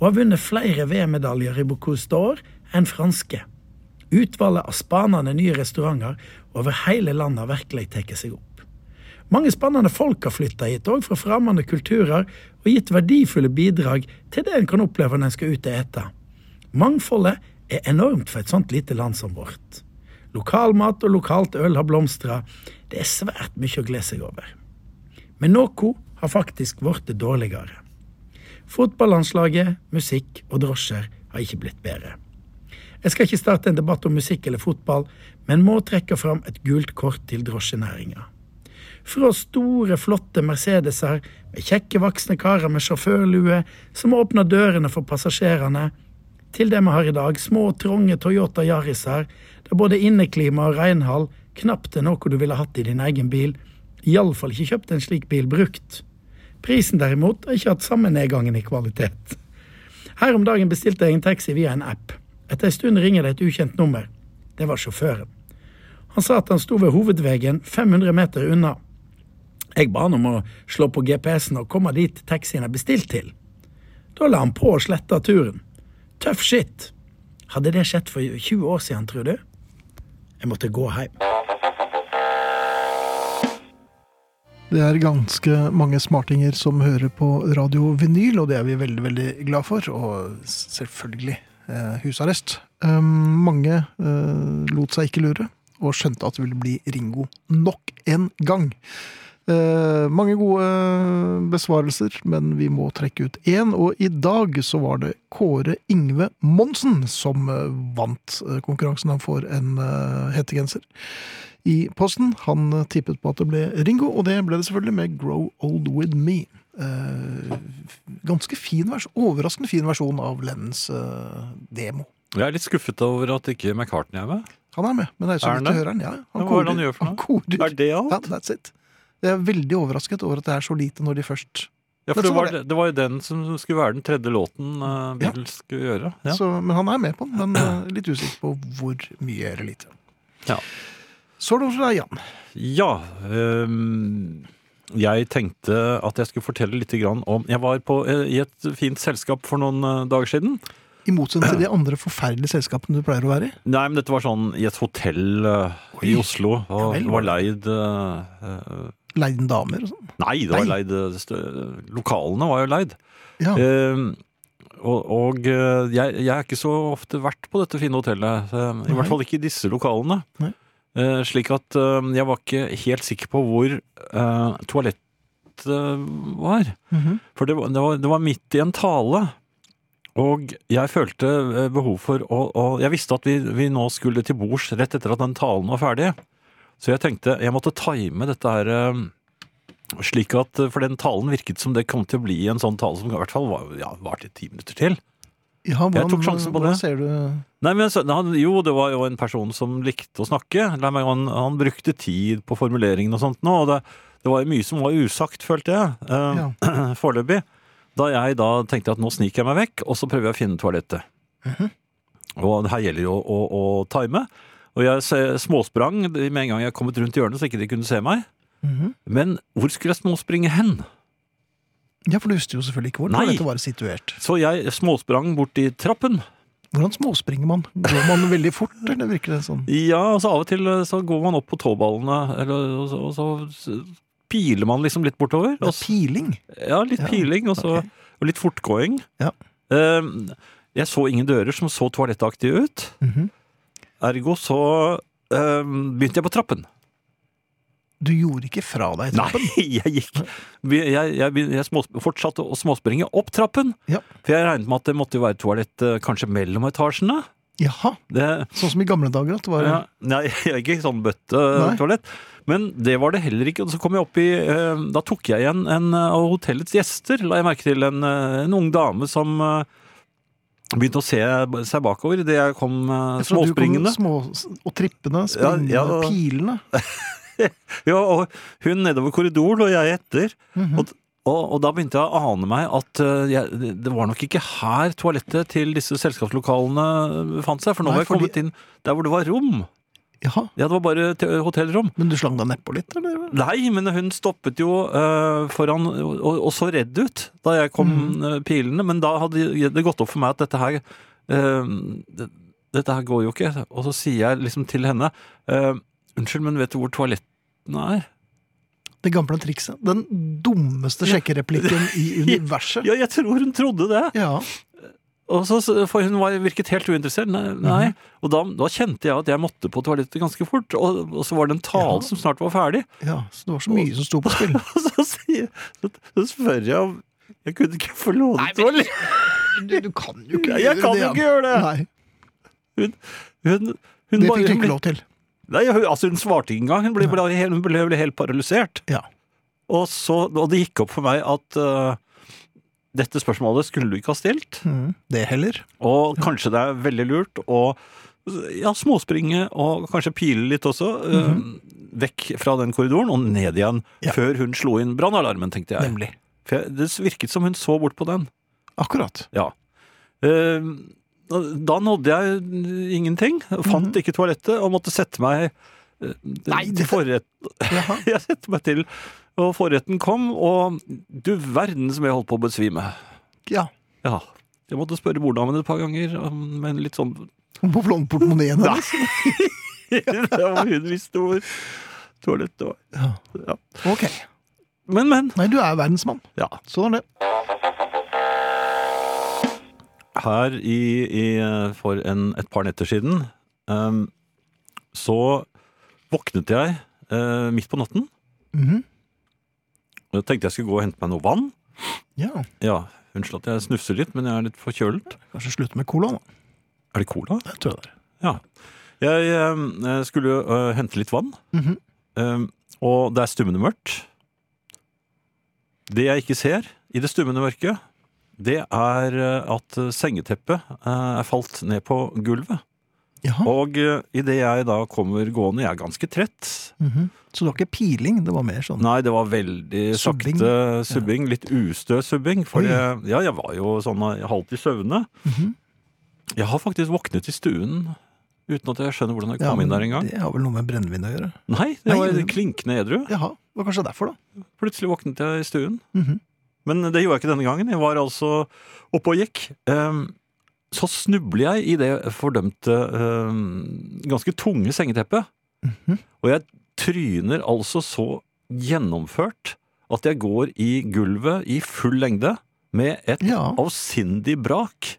og har vunnet flere VM-medaljer i Bocuse d'Or enn franske. Utvalget av spanende nye restauranter over hele landet har virkelig tatt seg opp. Mange spennende folk har flytta hit òg, fra fremmede kulturer, og gitt verdifulle bidrag til det en kan oppleve når en skal ut og ete. Mangfoldet er enormt for et sånt lite land som vårt. Lokalmat og lokalt øl har blomstra. Det er svært mye å glede seg over. Men noe har faktisk blitt dårligere. Fotballandslaget, musikk og drosjer har ikke blitt bedre. Jeg skal ikke starte en debatt om musikk eller fotball, men må trekke fram et gult kort til drosjenæringa. Fra store, flotte Mercedeser med kjekke, voksne karer med sjåførlue som åpner dørene for passasjerene, til det vi har i dag, små, trange Toyota Yariser, der både inneklima og renhold knapt er noe du ville hatt i din egen bil, iallfall ikke kjøpt en slik bil brukt. Prisen derimot har ikke hatt samme nedgangen i kvalitet. Her om dagen bestilte jeg en taxi via en app. Etter ei stund ringer det et ukjent nummer. Det var sjåføren. Han sa at han sto ved hovedveien 500 meter unna. Jeg ba han om å slå på GPS-en og komme dit taxien er bestilt til. Da la han på og sletta turen. Tøff shit. Hadde det skjedd for 20 år siden, tror du? Jeg måtte gå hjem. Det er ganske mange smartinger som hører på Radio Vinyl, og det er vi veldig, veldig glad for. Og s- selvfølgelig eh, husarrest. Eh, mange eh, lot seg ikke lure, og skjønte at det ville bli Ringo nok en gang. Eh, mange gode eh, besvarelser, men vi må trekke ut én. Og i dag så var det Kåre Ingve Monsen som eh, vant eh, konkurransen. Han får en eh, hettegenser i posten. Han eh, tippet på at det ble Ringo, og det ble det selvfølgelig med Grow Old With Me. Eh, ganske fin vers, overraskende fin versjon av Lennons eh, demo. Jeg er litt skuffet over at ikke McCartney er med. Han er med, men det er så Er han vidt du det? hører han. Ja, Ja, hva er det han gjør for noe? korer. Er det alt? Ja, that's it. Jeg er veldig overrasket over at det er så lite når de først Ja, Men for det så var var, det var jo den som skulle være den tredje låten uh, Beatles skulle gjøre. Ja. så, Men han er med på den, men eh, litt usikker på hvor mye eller lite. Ja. Så er det over til deg, Jan. ja ehm, jeg tenkte at jeg skulle fortelle litt grann om Jeg var på, eh, i et fint selskap for noen eh, dager siden. I motsetning til de andre forferdelige selskapene du pleier å være i. Nei, men dette var sånn i et hotell eh, i Oi. Oslo. Og Ja vel, det var leid eh, eh, Leiden damer og sånn. Nei, det var Nei. leid eh, stø- Lokalene var jo leid. Ja. Eh, og og eh, jeg, jeg har ikke så ofte vært på dette fine hotellet. eh, I Nei. hvert fall ikke i disse lokalene. Nei. Eh, slik at eh, jeg var ikke helt sikker på hvor eh, toalettet var. Mhm. For det var, det, var, det var midt i en tale. Og jeg følte eh, behov for å, å Jeg visste at vi, vi nå skulle til bords rett etter at den talen var ferdig. Så jeg tenkte jeg måtte time dette her ehm, eh, slik at eh, For den talen virket som det kom til å bli en sånn tale som i hvert fall var, ja, var til ti minutter til. Ja, hvordan, tok sjansen på hvordan det. Ser du, Nei, men så, han, Jo, det var jo en person som likte å snakke. Nei, men han, han brukte tid på formuleringen og sånt nå, og det, det var jo mye som var usagt, følte jeg, eh, foreløpig. Da jeg da tenkte at nå sniker jeg meg vekk, og så prøver jeg å finne toalettet. Og det her gjelder jo å, å, å time. Og jeg se- småsprang med en gang jeg kommet rundt hjørnet, så ikke de kunne se meg. Mhm. Men hvor skulle jeg småspringe hen? ja, for du visste jo selvfølgelig ikke hvor Nei. toalettet var situert. Så jeg småsprang bort i trappen. Hvordan småspringer man? Går man veldig fort, eller virker det sånn? Ja, altså av og til eh, så går man opp på tåballene, eller, og, så, og så piler man liksom litt bortover. Det er Og, s- piling. ja, litt Ja, piling, og, så, ok. og litt fortgåing. Ja. Eh, jeg så ingen dører som så toalettaktige ut. Mhm. Ergo så eh, begynte jeg på trappen. Du gjorde ikke fra deg Nei, trappen. jeg gikk Jeg, jeg, jeg, begyn- jeg smås- fortsatte å småspringe opp trappen. Ja. For jeg regnet med at det måtte jo være toalett eh, kanskje mellom etasjene. Jaha, Det, sånn som i gamle dager at det var Ja, nei, jeg er ikke sånn Nei. bøttetoalett. Men det var det heller ikke. Og så kom jeg opp i eh, Da tok jeg igjen en eh, av hotellets gjester, la jeg merke til. En, eh, en ung dame som eh, begynte å se seg bakover idet jeg kom eh, Jeg tror du kom småspringende. Små, og trippene, springende, Ja, ja. pilene. Ja, og hun nedover korridoren, og jeg etter. Mhm. og, og, og da begynte jeg å ane meg at eh, jeg, det- det var nok ikke her toalettet til disse selskapslokalene befant seg. For nå Nei, har jeg fordi- kommet inn der hvor det var rom. Jaha, Ja, det var bare te- hotellrom. men du slang deg nedpå litt, eller? Nei, men hun stoppet jo eh, foran og, og så redd ut da jeg kom eh, pilene. Men da hadde det gått opp for meg at dette her eh, det, Dette her går jo ikke. Og så sier jeg liksom til henne eh, Unnskyld, men vet du hvor toalettene er? Det gamle trikset. Den dummeste sjekkereplikken i universet. Ja, jeg tror hun trodde det! Ja, Og så, for hun var, virket helt uinteressert. Nei. nei. Og da, da kjente jeg at jeg måtte på toalettet ganske fort. Og, og så var det en tale Ja. som snart var ferdig. ja, så det var så mye som sto på spill. Og så, sier, så, så spør jeg om jeg kunne ikke få låne toalettet. Du, du kan jo ikke Jeg kan jo ikke gjøre det! Nei, Hun, hun det fikk bare- du hun ble- ikke lov til. Nei, hun, altså hun svarte ikke engang. Hun ble, ble, helt- hun ble, ble helt paralysert. Ja. Og, så, og det gikk opp for meg at eh, dette spørsmålet skulle du ikke ha stilt. Mhm. Det heller. Og kanskje det er veldig lurt å ja, småspringe og kanskje pile litt også. eh, Vekk fra den korridoren og ned igjen. Mhm. Ja. Før hun slo inn brannalarmen, tenkte jeg. Nemlig. For jeg, det virket som hun så bort på den. Akkurat. Ja. Eh, Da nådde jeg ingenting. Fant ikke toalettet og måtte sette meg eh, til det- forrett. Jaha. Jeg sette meg til, og forretten kom, og du verden som jeg holdt på å besvime. Ja. Ja. Jeg måtte spørre mordamen et par ganger, om- men litt sånn Hun På blond portemoneen hennes. Hun visste hvor toalettet var. Ja. Ok. Men, men. Nei, du er verdensmann. Ja. Sånn er det. her i, i, for en, et par netter siden, ehm, så våknet jeg eh, midt på natten. Mhm. Jeg tenkte jeg skulle gå og hente meg noe vann. Ja. Ja, Unnskyld at jeg snufser litt, men jeg er litt forkjølet. Kanskje slutte med cola, da. Er det cola? Det tror jeg det er. Jeg ehm, eh, skulle eh, hente litt vann, Mhm. ehm, og det er stummende mørkt. Det jeg ikke ser i det stummende mørket, det er eh, at sengeteppet eh, er falt ned på gulvet. Jaha. Og uh, idet jeg da kommer gående, jeg er ganske trett. Mhm. Så det var ikke piling, det var mer sånn Nei, det var veldig Subbing. sakte subbing. Litt ustø subbing. For Oi. jeg, ja, jeg var jo sånn eh, halvt i søvne. Mhm. Jeg har faktisk våknet i stuen uten at jeg skjønner hvordan jeg Ja, kom inn men der engang. Det har vel noe med brennevin å gjøre. Nei, det Nei, var det- klinkende edru. Jaha, det var kanskje derfor, da. Plutselig våknet jeg i stuen. Mhm. Men det gjorde jeg ikke denne gangen. Jeg var altså oppe og gikk. Ehm, så snubler jeg i det fordømte, ehm, ganske tunge sengeteppet. Mhm. Og jeg tryner altså så gjennomført at jeg går i gulvet i full lengde med et Ja. avsindig brak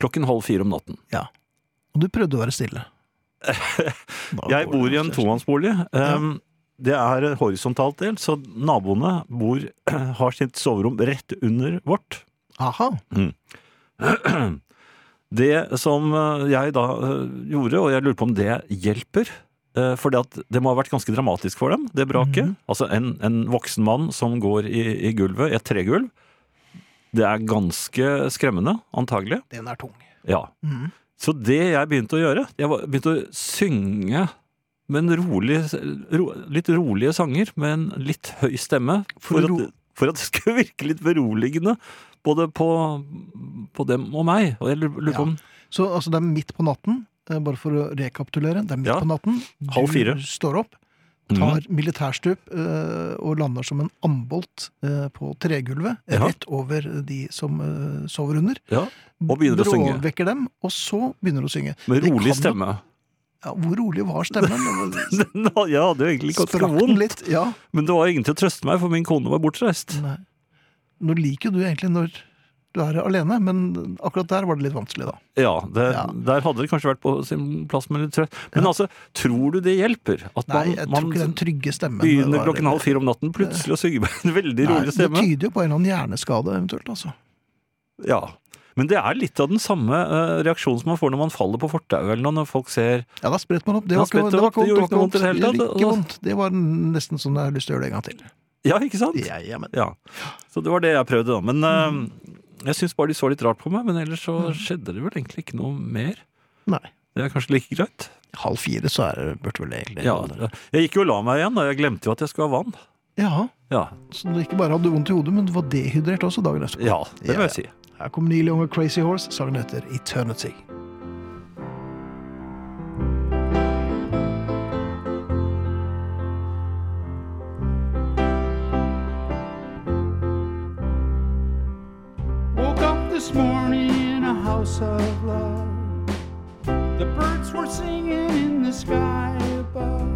klokken halv fire om natten. Og du prøvde å være stille. Da Jeg går bor det i en kjæresten. tomannsbolig. Ehm, Det er horisontalt delt, så naboene bor, har sitt soverom rett under vårt. Aha. Det som eh, jeg da eh, gjorde, og jeg lurer på om det hjelper for det må ha vært ganske dramatisk for dem, det braket. Altså en, en voksen mann som går i, i gulvet, i et tregulv. Det er ganske skremmende, antagelig. Den er tung. Ja. Mhm. Så det jeg begynte å gjøre Jeg var- begynte å synge men rolig, ro, litt rolige sanger med en litt høy stemme. For, For å at, for at det skulle virke litt beroligende både på, på dem og meg. Og jeg lurer lurer på om Så altså, det er midt på natten, eh, bare for å rekapitulere. Det er midt Ja. på natten. Halv fire. Du står opp, Mm, tar Mhm. militærstup eh, og lander som en ambolt eh, på tregulvet. Ja. Rett over de som eh, sover under. ja, Og begynner å synge. Bråvekker dem, og så begynner du å synge. Med Det kan rolig jo- stemme. Ja, hvor rolig var stemmen? Det Den, jeg hadde jo egentlig var- ganske Sprakk den vondt, litt? Mm. Ja. men det var ingen til å trøste meg, for min kone var bortreist. Nei. Nå liker jo du egentlig når du er alene, men akkurat der var det litt vanskelig, da. Ja, det, Ja. Der hadde det kanskje vært på sin plass med litt trøst. Men altså, tror du det hjelper? At Nei, man, jeg tror man ikke den trygge stemmen begynner var- klokken halv fire om natten plutselig å synge med en veldig Nei, rolig stemme? Det tyder jo på en eller annen hjerneskade, eventuelt. altså. Ja. Men det er litt av den samme eh, reaksjonen som man får når man faller på fortauet, eller noe, når folk ser Ja, da spretter man opp. Det Da var ikke spretter det var man opp, ikke det gjorde vondt. Det var ikke noe vondt i ikke det hele tatt, vondt. Det, ikke og- vondt. det var nesten sånn jeg har lyst til å gjøre det en gang til. Ja, ikke sant? Ja, ja, men- Ja. Så det var det jeg prøvde, da. Men eh, jeg syns bare de så litt rart på meg. Men ellers så Mm. skjedde det vel egentlig ikke noe mer. Nei. Det er kanskje like greit. Halv fire, så er det, burde vel egentlig Ja, jeg gikk jo og la meg igjen, da. Jeg glemte jo at jeg skulle ha vann. Ja, Ja, Så du ikke bare hadde vondt i hodet, men du var dehydrert også dagen etterpå. ja det Ja, ja. må jeg si. Her kommer Neil Young og Crazy Horse. Sangen heter Eternity. Woke up this morning in a house of love. The birds were singing in the sky above.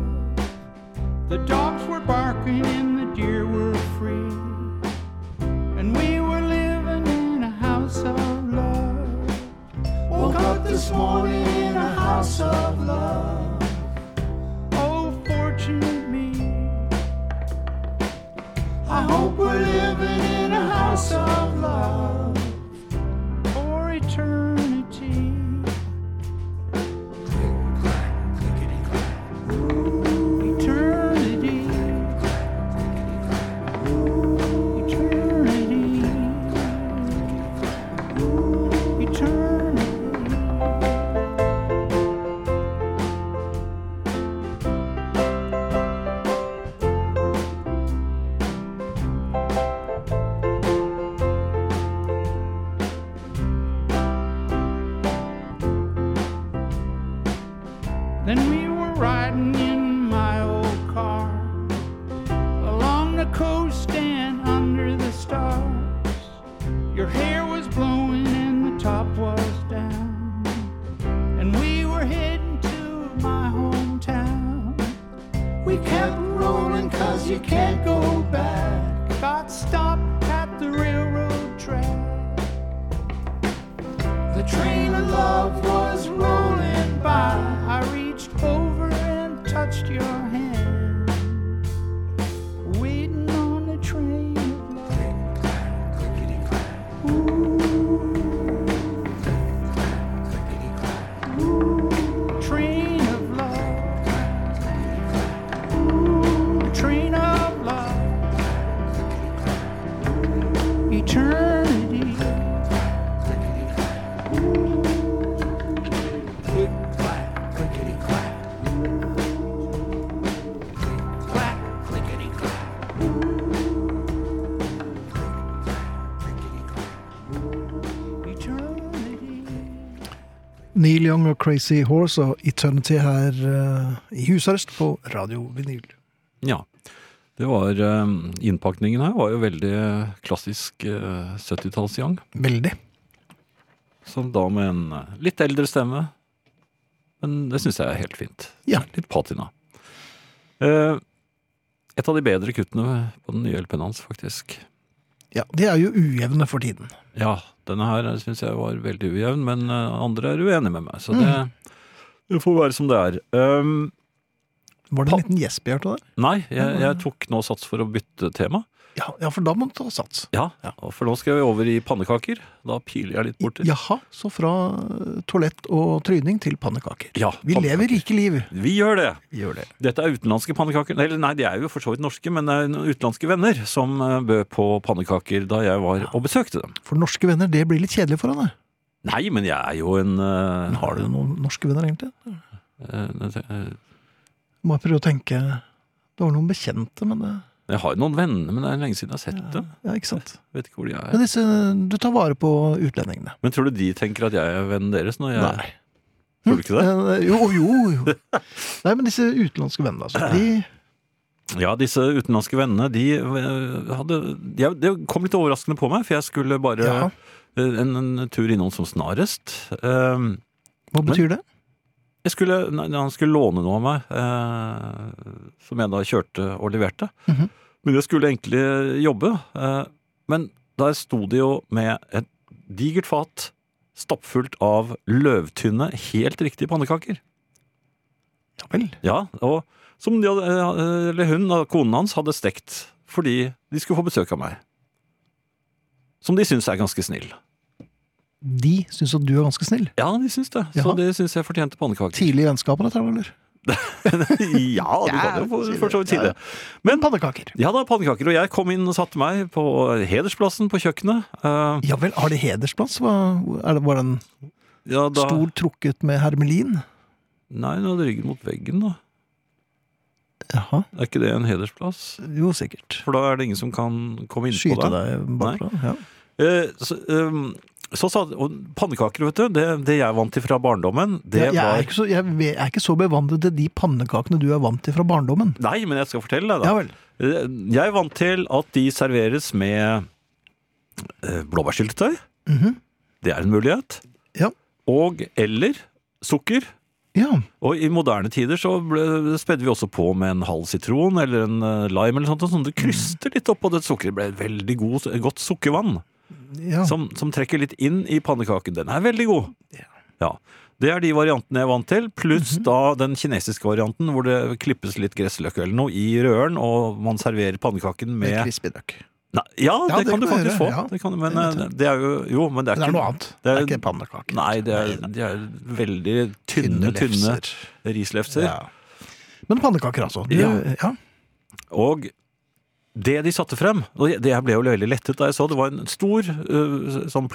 The dogs were barking and the deer were free. And we were living in a house of love. Woke up this morning in a house of love. Oh, fortunate me. I hope we're living in a house of love for eternity. Eternity. Eternity. Eternity. Then we were riding in my old car along the coast and under the stars. Your hair was blowing and the top was down. And we were heading to my hometown. We kept rolling cause you can't go back. Got stopped at the railroad track. The train of love was rolling by. I reached over and touched your hand. Waiting on the train of love. Ooh. Train of love. Ooh, Train of love. Eternity. Eternity. Neil Young og Crazy Horse og Eternity her eh, i husarrest på Radio Vinyl. Ja. Det var eh, Innpakningen her var jo veldig klassisk eh, 70-talls-yang. Veldig. Som da med en eh, litt eldre stemme. Men det syns jeg er helt fint. Ja. Litt patina. Eh, et av de bedre kuttene på den nye LP-en hans, faktisk. Ja, De er jo ujevne for tiden. Ja, denne her syns jeg var veldig ujevn, men Mm. eh, andre er uenige med meg, så det, det får være som det er. Um, Var det en liten gjesp jeg hørte der? Nei, jeg, jeg tok nå sats for å bytte tema. Ja, ja, for da må du ta sats. Ja, og For nå skal vi over i pannekaker. Da piler jeg litt borti. Jaha, så fra eh, toalett og tryning til pannekaker. Ja, Vi pannekaker. lever rike liv. Vi gjør det! Gjør det. Dette er utenlandske pannekaker. Eller nei, de er jo for så vidt norske, men det er noen utenlandske venner som eh, bød på pannekaker da jeg var og besøkte dem. For norske venner, det blir litt kjedelig for deg. Nei, men jeg er jo en eh, Men har du noen norske venner, egentlig? eh, eh, Må jeg prøve å tenke Det var noen bekjente, men det Jeg har jo noen venner, men det er lenge siden jeg har sett dem. Ja, ikke sant. Vet ikke hvor de er. Men disse Du tar vare på utlendingene. Men tror du de tenker at jeg er vennen deres når jeg Nei. Tror du ikke det? Eh, Jo, jo, jo. Nei, men disse utenlandske vennene, altså. De Ja, disse utenlandske vennene, de eh, hadde de, Det kom litt overraskende på meg, for jeg skulle bare Ja. eh, en, en tur innom som snarest. Eh, Hva betyr det? Jeg skulle, nei, han skulle låne noe av meg, eh, som jeg da kjørte og leverte. Mhm. Men jeg skulle egentlig jobbe. Eh, men der sto de jo med et digert fat stappfullt av løvtynne, helt riktige pannekaker. Ja vel. Ja, og som de hadde, eh, eller hun, da, konen hans, hadde stekt fordi de skulle få besøk av meg. Som de syns er ganske snill. De syns at du er ganske snill. Ja, de syns det. Jaha. Så det syns jeg fortjente pannekaker. Tidlig i vennskapet, dette, eller? ja, du kan jo for- for så vidt si det. Men Pannekaker. Ja da, pannekaker. Og jeg kom inn og satte meg på hedersplassen på kjøkkenet. Eh, Ja vel, har de hedersplass? Hva- er det- Var den ja, da, stol trukket med hermelin? Nei, nå hadde ryggen mot veggen, da. Jaha. Er ikke det en hedersplass? Jo, sikkert. For da er det ingen som kan komme innpå Skyte deg. deg bakfra. Ja. Eh, så, eh, så sa og Pannekaker, vet du. Det, det jeg vant til fra barndommen, det jeg, jeg, er var ikke så, jeg ve- jeg er ikke så bevandret til de pannekakene du er vant til fra barndommen. Nei, men jeg skal fortelle deg, da. Ja vel. Eh, Jeg er vant til at de serveres med eh, blåbærsyltetøy. Mhm. Det er en mulighet. Ja. Og eller sukker. Ja. Og i moderne tider så ble, spedde vi også på med en halv sitron eller en eh, lime eller sånt, sånn at det kryster litt oppå det sukkeret. Det ble et veldig god, godt sukkervann ja. som, som trekker litt inn i pannekaken. Den er veldig god. Ja. Det er de variantene jeg er vant til, pluss Mhm. da den kinesiske varianten hvor det klippes litt gressløk eller noe i røren, og man serverer pannekaken Med med crispy duck. Nei, Ja, Ja, det, det kan du kan jeg gjøre, faktisk få. ja. Det kan, men Det vet eh, det er jo Jo, men det er Men det er noe ikke annet. det er- Det er ikke pannekaker. Nei, det er, det er veldig tynne, Tynne tynne lefser. rislefser. Ja. Men pannekaker, altså. Du, Ja. ja. Og det de satte frem, og jeg- det jeg ble jo veldig lettet da jeg så, det var en stor øh, sånn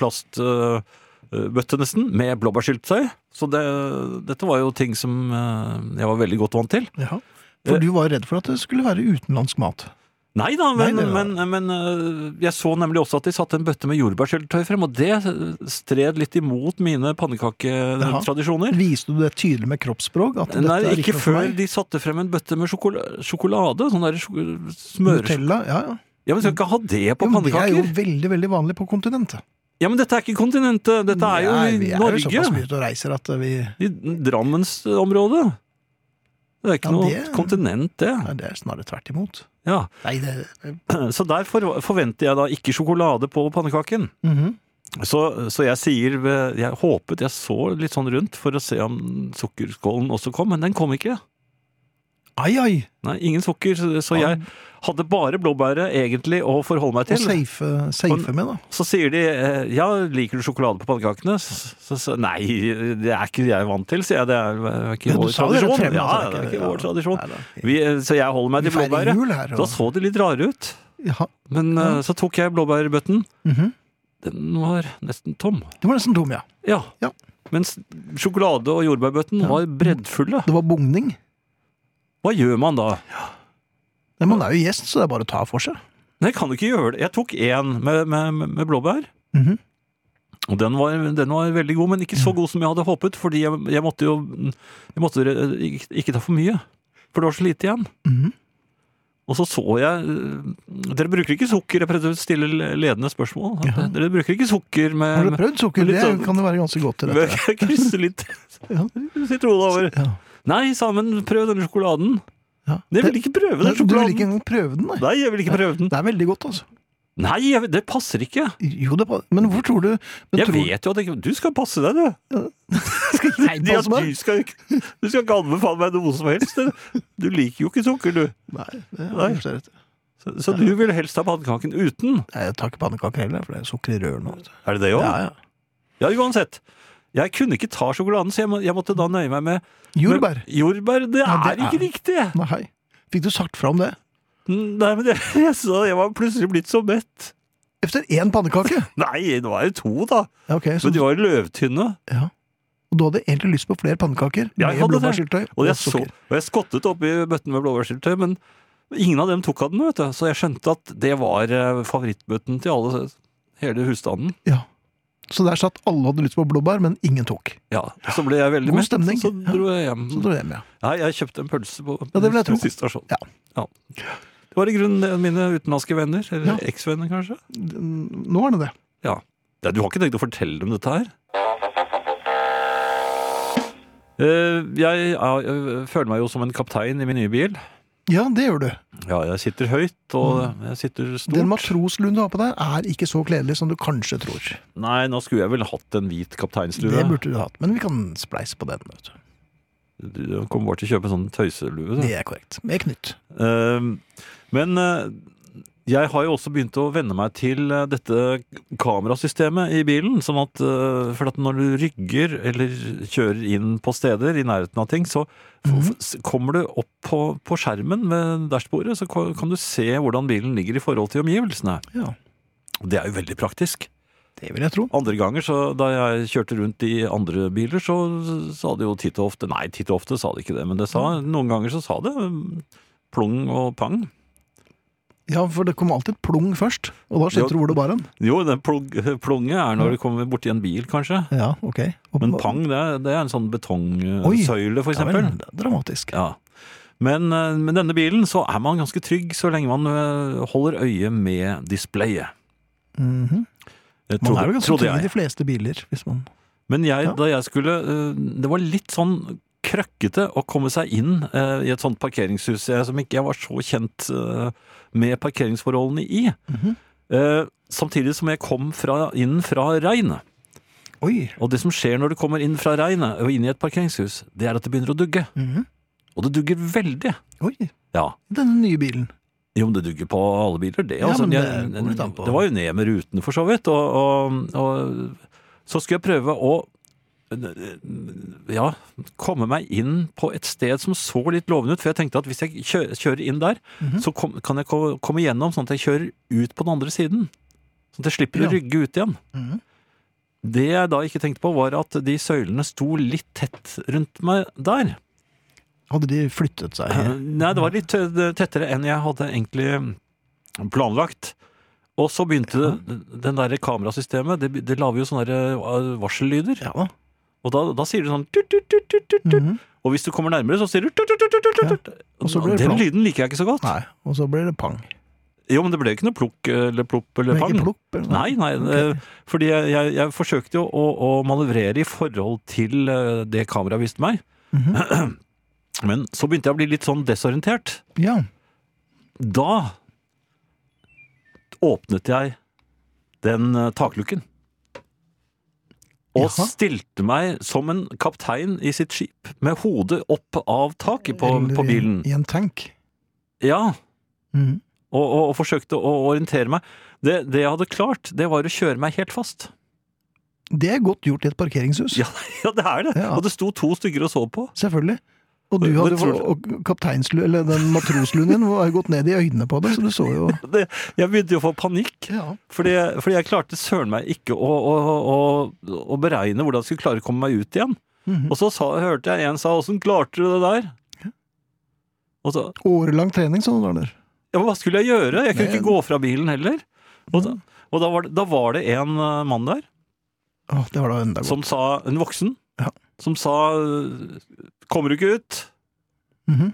plastbøtte nesten, med blåbærsyltetøy. Så det, dette var jo ting som øh, jeg var veldig godt vant til. ja. For Eh. du var redd for at det skulle være utenlandsk mat. Nei da, men, Nei, det var- men, men øh, jeg så nemlig også at de satte en bøtte med jordbærsyltetøy frem, og det eh, stred litt imot mine pannekaketradisjoner. Viste du det tydelig med kroppsspråk? At Nei, dette er ikke noe for før meg? de satte frem en bøtte med sjokolade, sjokolade sånn der sjok- smør... Nutella, ja, ja. Ja, men skal ikke ha det på Jo, men det er pannekaker? jo veldig veldig vanlig på kontinentet. Ja, men dette er ikke kontinentet, dette er jo Nei, i vi er jo såpass Norge. mye ute og reiser at vi Nei, I Drammensområdet. Det er ikke Ja, noe det- kontinent, det. det er snarere tvert imot. Ja. Nei, det Så der for, forventer jeg da ikke sjokolade på pannekaken. Mhm. Så, så jeg sier ved- Jeg håpet, jeg så litt sånn rundt for å se om sukkerskålen også kom, men den kom ikke. Ai, ai! Nei, ingen sukker, så så jeg hadde bare blåbæret egentlig å forholde meg Og til. safe, safe med, da. Så sier de eh, ja, liker du sjokolade på pannekakene? Så, så, så, nei, det er ikke jeg vant til, sier jeg. Det er eh, ikke Men du vår sa det rett tradisjon. frem, Ja, altså, det er ikke- ikke vår ja. tradisjon. Nei da. Vi, eh, så jeg holder meg Vi til feirer blåbæret. jul her. Da Og, så de litt rare ut. ja, Men eh, så tok jeg blåbærbøtten. Mhm. Den var nesten tom. det var nesten tom, ja. Ja. Ja. Mens sjokolade- og jordbærbøtten var breddfulle. Det var bugning. Hva gjør man da? Men man er jo gjest, så det er bare å ta for seg. Nei, jeg kan jo ikke gjøre det. Jeg tok én med, med, med- med blåbær. Mhm. Og den var, den var veldig god, men ikke så god som jeg hadde håpet, fordi jeg, jeg måtte jo jeg måtte re- ikke, ikke ta for mye. For det var så lite igjen. Mhm. Og så så jeg øh, Dere bruker ikke sukker. Jeg prøvde å stille ledende spørsmål. Ja. Dere bruker ikke sukker Har med, du prøvd sukker? litt Det sånn- kan jo være ganske godt til med dette. Krysse litt Ja. sitron over. Ja. Nei, sammen, prøv denne sjokoladen. Ja. Jeg vil ikke prøve Nei, den Du vil ikke sjokoladen. engang prøve den, nei. Nei, jeg vil ikke prøve den. Det er veldig godt, altså. Nei, jeg- det passer ikke! Jo, det pa- Men hvorfor tror du men Jeg tror, vet jo at det ikke Du skal passe deg, du! jeg Ja, passe meg? du skal ikke Du skal ikke anbefale meg noe som helst. Du, du liker jo ikke sukker, du. Nei, det Nei. har du rett i. Så, så du vil helst ha pannekaken uten. Nei, Jeg tar ikke pannekaker heller, for det er sukker i røret nå. vet du. Er det det òg? Ja, Ja. ja. uansett. Jeg kunne ikke ta sjokoladen, så jeg, må, jeg måtte da nøye meg med Jordbær. Men Jordbær, det, Ja, det er ikke er- riktig! Nei. Fikk du sagt fra om det? Nei, men jeg, jeg sa jeg var plutselig blitt så mett. Etter én pannekake? Nei, nå er det to, da. Ja, ok. Så, Men de var jo løvtynne. ja. Og du hadde egentlig lyst på flere pannekaker Ja, med jeg hadde det. blåbærsyltetøy Og og jeg, så, sukker. og jeg skottet oppi bøtten med blåbærsyltetøy, men ingen av dem tok av den, vet du. Så jeg skjønte at det var eh, favorittbøtten til alle, hele husstanden. Ja. Så der satt alle hadde lyst på blåbær, men ingen tok. Ja, så ble jeg veldig God mett, stemning. så dro jeg hjem. Så dro jeg hjem, ja. Nei, jeg kjøpte en pølse på Ja, det vil jeg tro. siste stasjon. Ja. Ja. Det var i grunnen mine utenlandske venner, eller Ja. eksvenner kanskje. Nå er det det. Ja. Nei, Du har ikke tenkt å fortelle dem dette her? Eh, Jeg ja, jeg føler meg jo som en kaptein i min nye bil. Ja, det gjør du. Ja, jeg sitter høyt, og jeg sitter stort. Mm. Den matrosluen du har på deg, er ikke så kledelig som du kanskje tror. Nei, nå skulle jeg vel hatt en hvit Det kapteinslue. burde du hatt, men vi kan spleise på den. vet du. Du kommer bare til å kjøpe sånn tøyselue. du. Det er korrekt. Med knytt. Ehm, Men eh, jeg har jo også begynt å venne meg til eh, dette kamerasystemet i bilen. Sånn at, eh, for at når du rygger eller kjører inn på steder i nærheten av ting, så f- Mhm. s- kommer du opp på, på skjermen ved dashbordet, så ko- kan du se hvordan bilen ligger i forhold til omgivelsene. Ja, Det er jo veldig praktisk. Det vil jeg tro. Andre ganger, så da jeg kjørte rundt i andre biler, så sa det jo titt og ofte Nei, titt og ofte sa det ikke det, men det sa, noen ganger så sa det mm, plong og pang. Ja, for det kommer alltid plung først, og da skjønner Jo. du hvor det bar hen. Jo, den plog, plonge er når du kommer borti en bil, kanskje. Ja, ok. Og- Men pang, det er, det er en sånn Oi. betongsøyle, for Ja, vel, eksempel. det er dramatisk. Ja. Men eh, med denne bilen så er man ganske trygg så lenge man eh, holder øye med displayet. Mhm. Det Man trodde- er jo ganske trodde trygg i de jeg. fleste biler, hvis man Men jeg, Ja. da jeg skulle eh, Det var litt sånn krøkkete å komme seg inn eh, i et sånt parkeringshus jeg, som ikke jeg var så kjent eh, med parkeringsforholdene i. Eh, Samtidig som jeg kom fra, inn fra regnet. Oi! Og det som skjer når du kommer inn fra regnet og inn i et parkeringshus, det er at det begynner å dugge. Og det dugger veldig. Oi! Ja. Denne nye bilen. Jo, men det dugger på alle biler, det. Ja, altså, men det Jeg- kommer litt an på. det var jo ned med rutene, for så vidt. Og, og, og så skulle jeg prøve å ja, komme meg inn på et sted som så litt lovende ut. For jeg tenkte at hvis jeg kjø- kjører inn der, Mhm. så kom, kan jeg ko- komme gjennom sånn at jeg kjører ut på den andre siden. Sånn at jeg slipper Ja. Mhm. å rygge ut igjen. Det jeg da ikke tenkte på, var at de søylene sto litt tett rundt meg der. Hadde de flyttet seg? Nei, det var litt eh, tettere enn jeg hadde egentlig mm, planlagt. Og så begynte det- den der kamerasystemet, det, det lager jo sånne der, eh, varsellyder. Ja da. Og da, da sier du sånn tut, tut, tut, tut, tut, tut. Mhm. Og hvis du kommer nærmere, så sier du tut, tut, tut, tut, tut, tut. Og så blir det Den plong. lyden liker jeg ikke så godt. Nei. Og så blir det pang. Jo, men det ble jo ikke noe plukk eller plopp eller Men ikke pang. plopp? eller noe? Nei, nei, eh, fordi jeg, jeg, jeg forsøkte jo å, å manøvrere i forhold til eh, det kameraet viste meg. Mhm. Men så begynte jeg å bli litt sånn desorientert. Ja. Da åpnet jeg den eh, taklukken. Og Jaha. stilte meg som en kaptein i sitt skip, med hodet opp av taket på, Eller på i- bilen. I en tank. Ja, Mhm. og, og, og forsøkte å orientere meg. Det, det jeg hadde klart, det var å kjøre meg helt fast. Det er godt gjort i et parkeringshus. Ja, ja det er det. Ja. Og det sto to stykker og så på. Selvfølgelig. Og du Men hadde, tror du- og kapteinslu, eller den matrosluen din var jo gått ned i øynene på det, så du så jo Det, jeg begynte jo å få panikk, Ja. fordi, fordi jeg klarte søren meg ikke å, å, å, å beregne hvordan jeg skulle klare å komme meg ut igjen. Mhm. Og så sa, hørte jeg en sa 'åssen klarte du det der?' Og så Årelang trening, sånn var det. Ja, men hva skulle jeg gjøre? Jeg kunne Nei. ikke gå fra bilen heller. Og da, og da, var, det, da var det en eh, mann der Å, det var da enda godt. som sa En voksen. Ja. Som sa eh, 'kommer du ikke ut'? Mhm.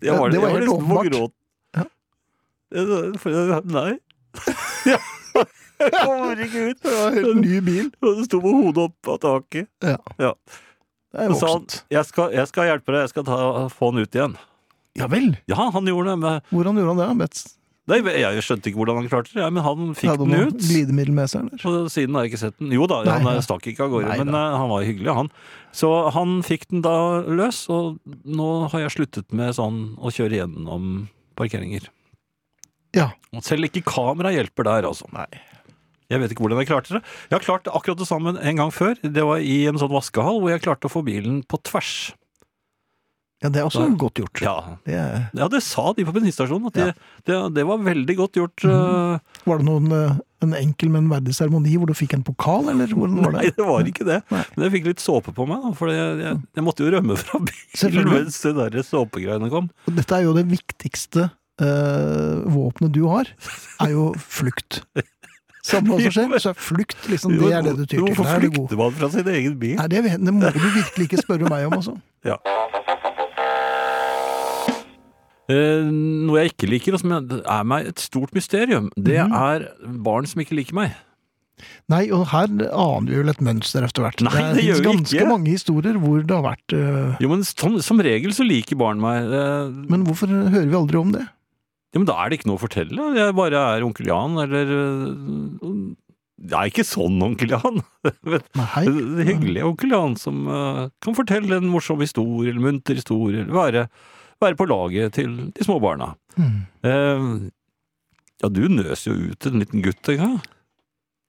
Jeg Ja, var, det var jeg var helt nesten på åpenbart. gråten. Ja. Jeg- for jeg- Nei. Jeg kommer ikke ut. Det var en helt ny bil. Og det sto med hodet opp av taket. Ja. Ja. Det er Så sa han voksent. jeg skal, 'jeg skal hjelpe deg, jeg skal ta, få han ut igjen'. Ja vel. Ja, han gjorde det, men Hvordan gjorde han det? Bets? Nei, jeg skjønte ikke hvordan han klarte det, jeg, men han fikk Hadde den noe ut. Glidemiddel med seg, eller? Og siden har jeg ikke sett den. Jo da, Nei, han ja. stakk ikke av gårde, Nei men da. eh, han var hyggelig, han. Så han fikk den da løs, og nå har jeg sluttet med sånn å kjøre gjennom parkeringer. Ja. Og selv ikke kamera hjelper der, altså. Nei. Jeg vet ikke hvordan jeg klarte det. Jeg har klart akkurat det samme en gang før. Det var i en sånn vaskehall hvor jeg klarte å få bilen på tvers. ja, det er også Da- godt gjort. Ja, Det er... ja det sa de på bensinstasjonen, at det, det, det var veldig godt gjort. eh, Var det noen, eh, en enkel, men verdig seremoni hvor du fikk en pokal, eller hvordan var Nei, det? det var ikke det. Nei. Men jeg fikk litt såpe på meg, da, for jeg, jeg, jeg måtte jo rømme fra bilen Selvfølgelig. mens de der såpegreiene kom. Og Dette er jo det viktigste eh, våpenet du har, er jo flukt. Samme hva som skjer, så er flukt liksom, det er det du tyr til. Da Hvorfor er du god. flykter man fra sin egen bil? Nei, det, vet- det må du virkelig ikke spørre meg om, altså. Eh, noe jeg ikke liker, og som jeg- er meg et stort mysterium, det Mhm. er barn som ikke liker meg. Nei, og her aner vi vel et mønster etter hvert. Nei, det finnes gjør vi ganske ikke. mange historier hvor det har vært eh, Jo, men som, som regel så liker barn meg. Eh, Men hvorfor hører vi aldri om det? ja, men da er det ikke noe å fortelle. Jeg bare er onkel Jan, eller eh, Det er ikke sånn onkel Jan. Men Nei. Det er hyggelig onkel Jan som eh, kan fortelle en morsom historie, eller munter historie, eller være, være på laget til de små barna. Hmm. Eh, ja, du nøs jo ut en liten gutt en gang.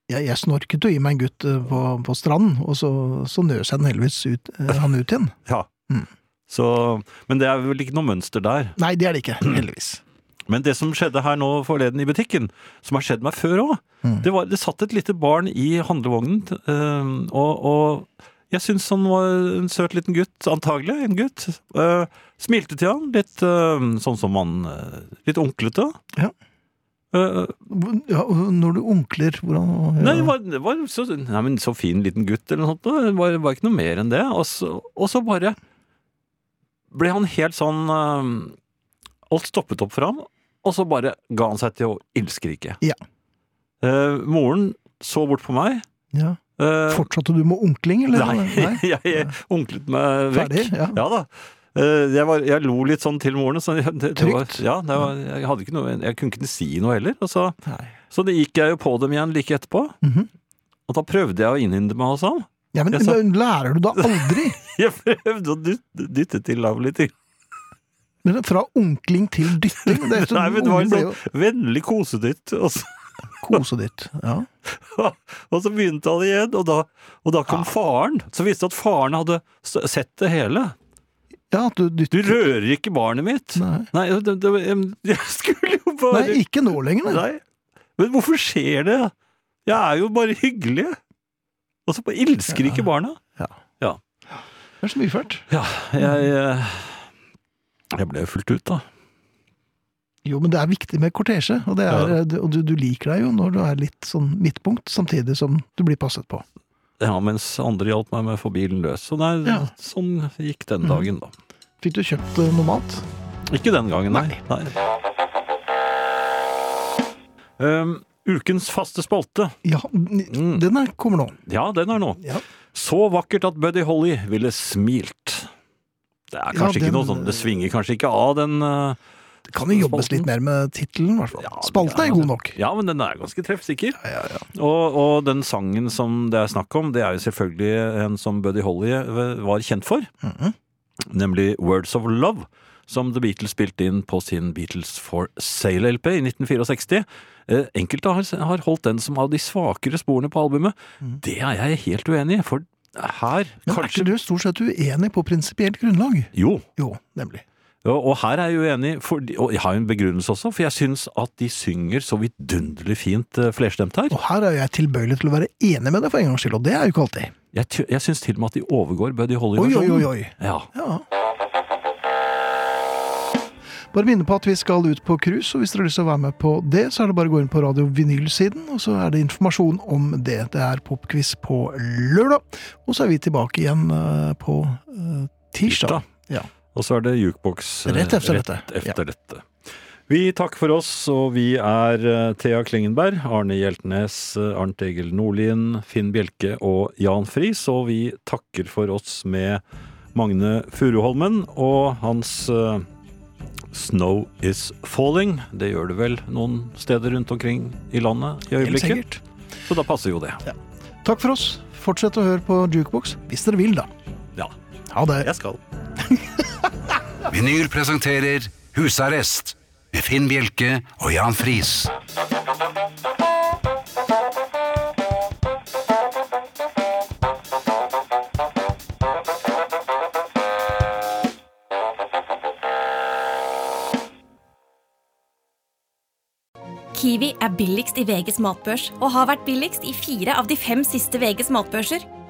Jeg, jeg snorket jo i meg en gutt eh, på, på stranden, og så, så nøs jeg den heldigvis ut, eh, han ut igjen. Ja. Mm. Så, men det er vel ikke noe mønster der. Nei, det er det ikke, heldigvis. Men det som skjedde her nå forleden i butikken, som har skjedd meg før òg, Mm. det, var- det satt et lite barn i handlevognen, t- eh, og, og jeg syns han var en søt liten gutt, antagelig en gutt. Eh, smilte til han, litt eh, sånn som han eh, Litt onklete. Ja. Eh, Ja, og når du onkler, hvordan nei, det var, det var så, nei, men så fin liten gutt, eller noe sånt. da. Det var, det var ikke noe mer enn det. Og så, og så bare ble han helt sånn eh, Alt stoppet opp for ham, og så bare ga han seg til å ildskrike. Ja. Eh, moren så bort på meg. ja. eh, Fortsatte du med onkling, eller? Nei, jeg, jeg onklet meg vekk. Ferdig? Ja. Ja da. Eh, Jeg, var, jeg lo litt sånn til moren. og Så det, det Var, Trygt. ja, det var, jeg, hadde ikke noe, jeg kunne ikke si noe heller. Og så, Nei. så det gikk jeg jo på dem igjen like etterpå. Mhm. Og da prøvde jeg å innhindre meg hos ham. Ja, men Jeg sa- lærer du da aldri? Jeg prøvde å dytte, dytte til ham litt. Men Fra onkling til dytting? Det er jo Nei, men det var ungen sånn- en ble jo sånn vennlig kosedytt. Og så, koseditt. Ja. og så begynte han igjen, og da, og da Ah. kom faren. Så viste det at faren hadde s- sett det hele. ja, at du Du dytter rører ikke barnet mitt! Nei. Nei, det, det, jeg skulle jo bare Nei, ikke nå lenger, nei. Nei. Men hvorfor skjer det? Jeg er jo bare hyggelig. Og så bare ilsker ikke barna. Det er så mye fælt. Ja, jeg eh, Jeg ble jo fulgt ut, da. Jo, men det er viktig med kortesje, og, det er, Ja. og du, du liker deg jo når du er litt sånn midtpunkt, samtidig som du blir passet på. Ja, mens andre hjalp meg med å få bilen løs. Så det er, Ja. sånn gikk den Mhm. dagen, da. Fikk du kjøpt eh, noe mat? Mm. Ikke den gangen, nei. nei. Um, ukens faste spalte. Ja, Mm. n- den er, kommer nå. Ja, den er nå. Ja. Så vakkert at Buddy Holly ville smilt. Det er Ja, kanskje ikke noe den- eh, sånn Det svinger kanskje ikke av den eh, Det kan jo jobbes Spalten. litt mer med tittelen, i hvert fall. Ja, Spalten det er god nok. Ja, men den er ganske treffsikker. Og, og den sangen som det er snakk om, det er jo selvfølgelig en som Buddy Holly eh, var kjent for. Mhm. Nemlig Words of Love, som The Beatles spilte inn på sin Beatles for Sale-LP i 1964. Eh, Enkelte har, har holdt den som av de svakere sporene på albumet. Det er jeg helt uenig i, for her Men Mhm. er kanskje ikke du stort sett uenig på prinsipielt grunnlag? Jo, Jo, nemlig. Og, og her er jeg uenig, for, og jeg har jo en begrunnelse også, for jeg syns at de synger så vidunderlig fint eh, flerstemt her. Og her er jeg tilbøyelig til å være enig med deg for en gangs skyld, og det er jo ikke alltid. Jeg, ty- jeg syns til og med at de overgår Buddy Oi, oi, oi, Holly-versjonen. oi. Ja. Ja. Bare minne på at vi skal ut på cruise, og hvis dere har lyst til å være med på det, så er det bare å gå inn på Radio Vinyl-siden, og så er det informasjon om det. Det er popquiz på lørdag, og så er vi tilbake igjen eh, på eh, tirsdag. Tirsdag. Og så er det jukebox eh, Rett efter dette. rett efter dette. Vi takker for oss, og vi er eh, Thea Klingenberg, Arne Hjeltnes, eh, Arnt Egil Nordlien, Finn Bjelke og Jan Friis, og vi takker for oss med Magne Furuholmen og hans eh, Snow Is Falling. Det gjør det vel noen steder rundt omkring i landet i øyeblikket. Så da passer jo det. Takk for oss. Fortsett å høre på Jukebox hvis dere vil, da. Ja, Ha det. jeg skal. Vinyl presenterer Husarrest med Finn Bjelke og Jan Friis. Kiwi er billigst i VGs matbørs og har vært billigst i fire av de fem siste VGs matbørser.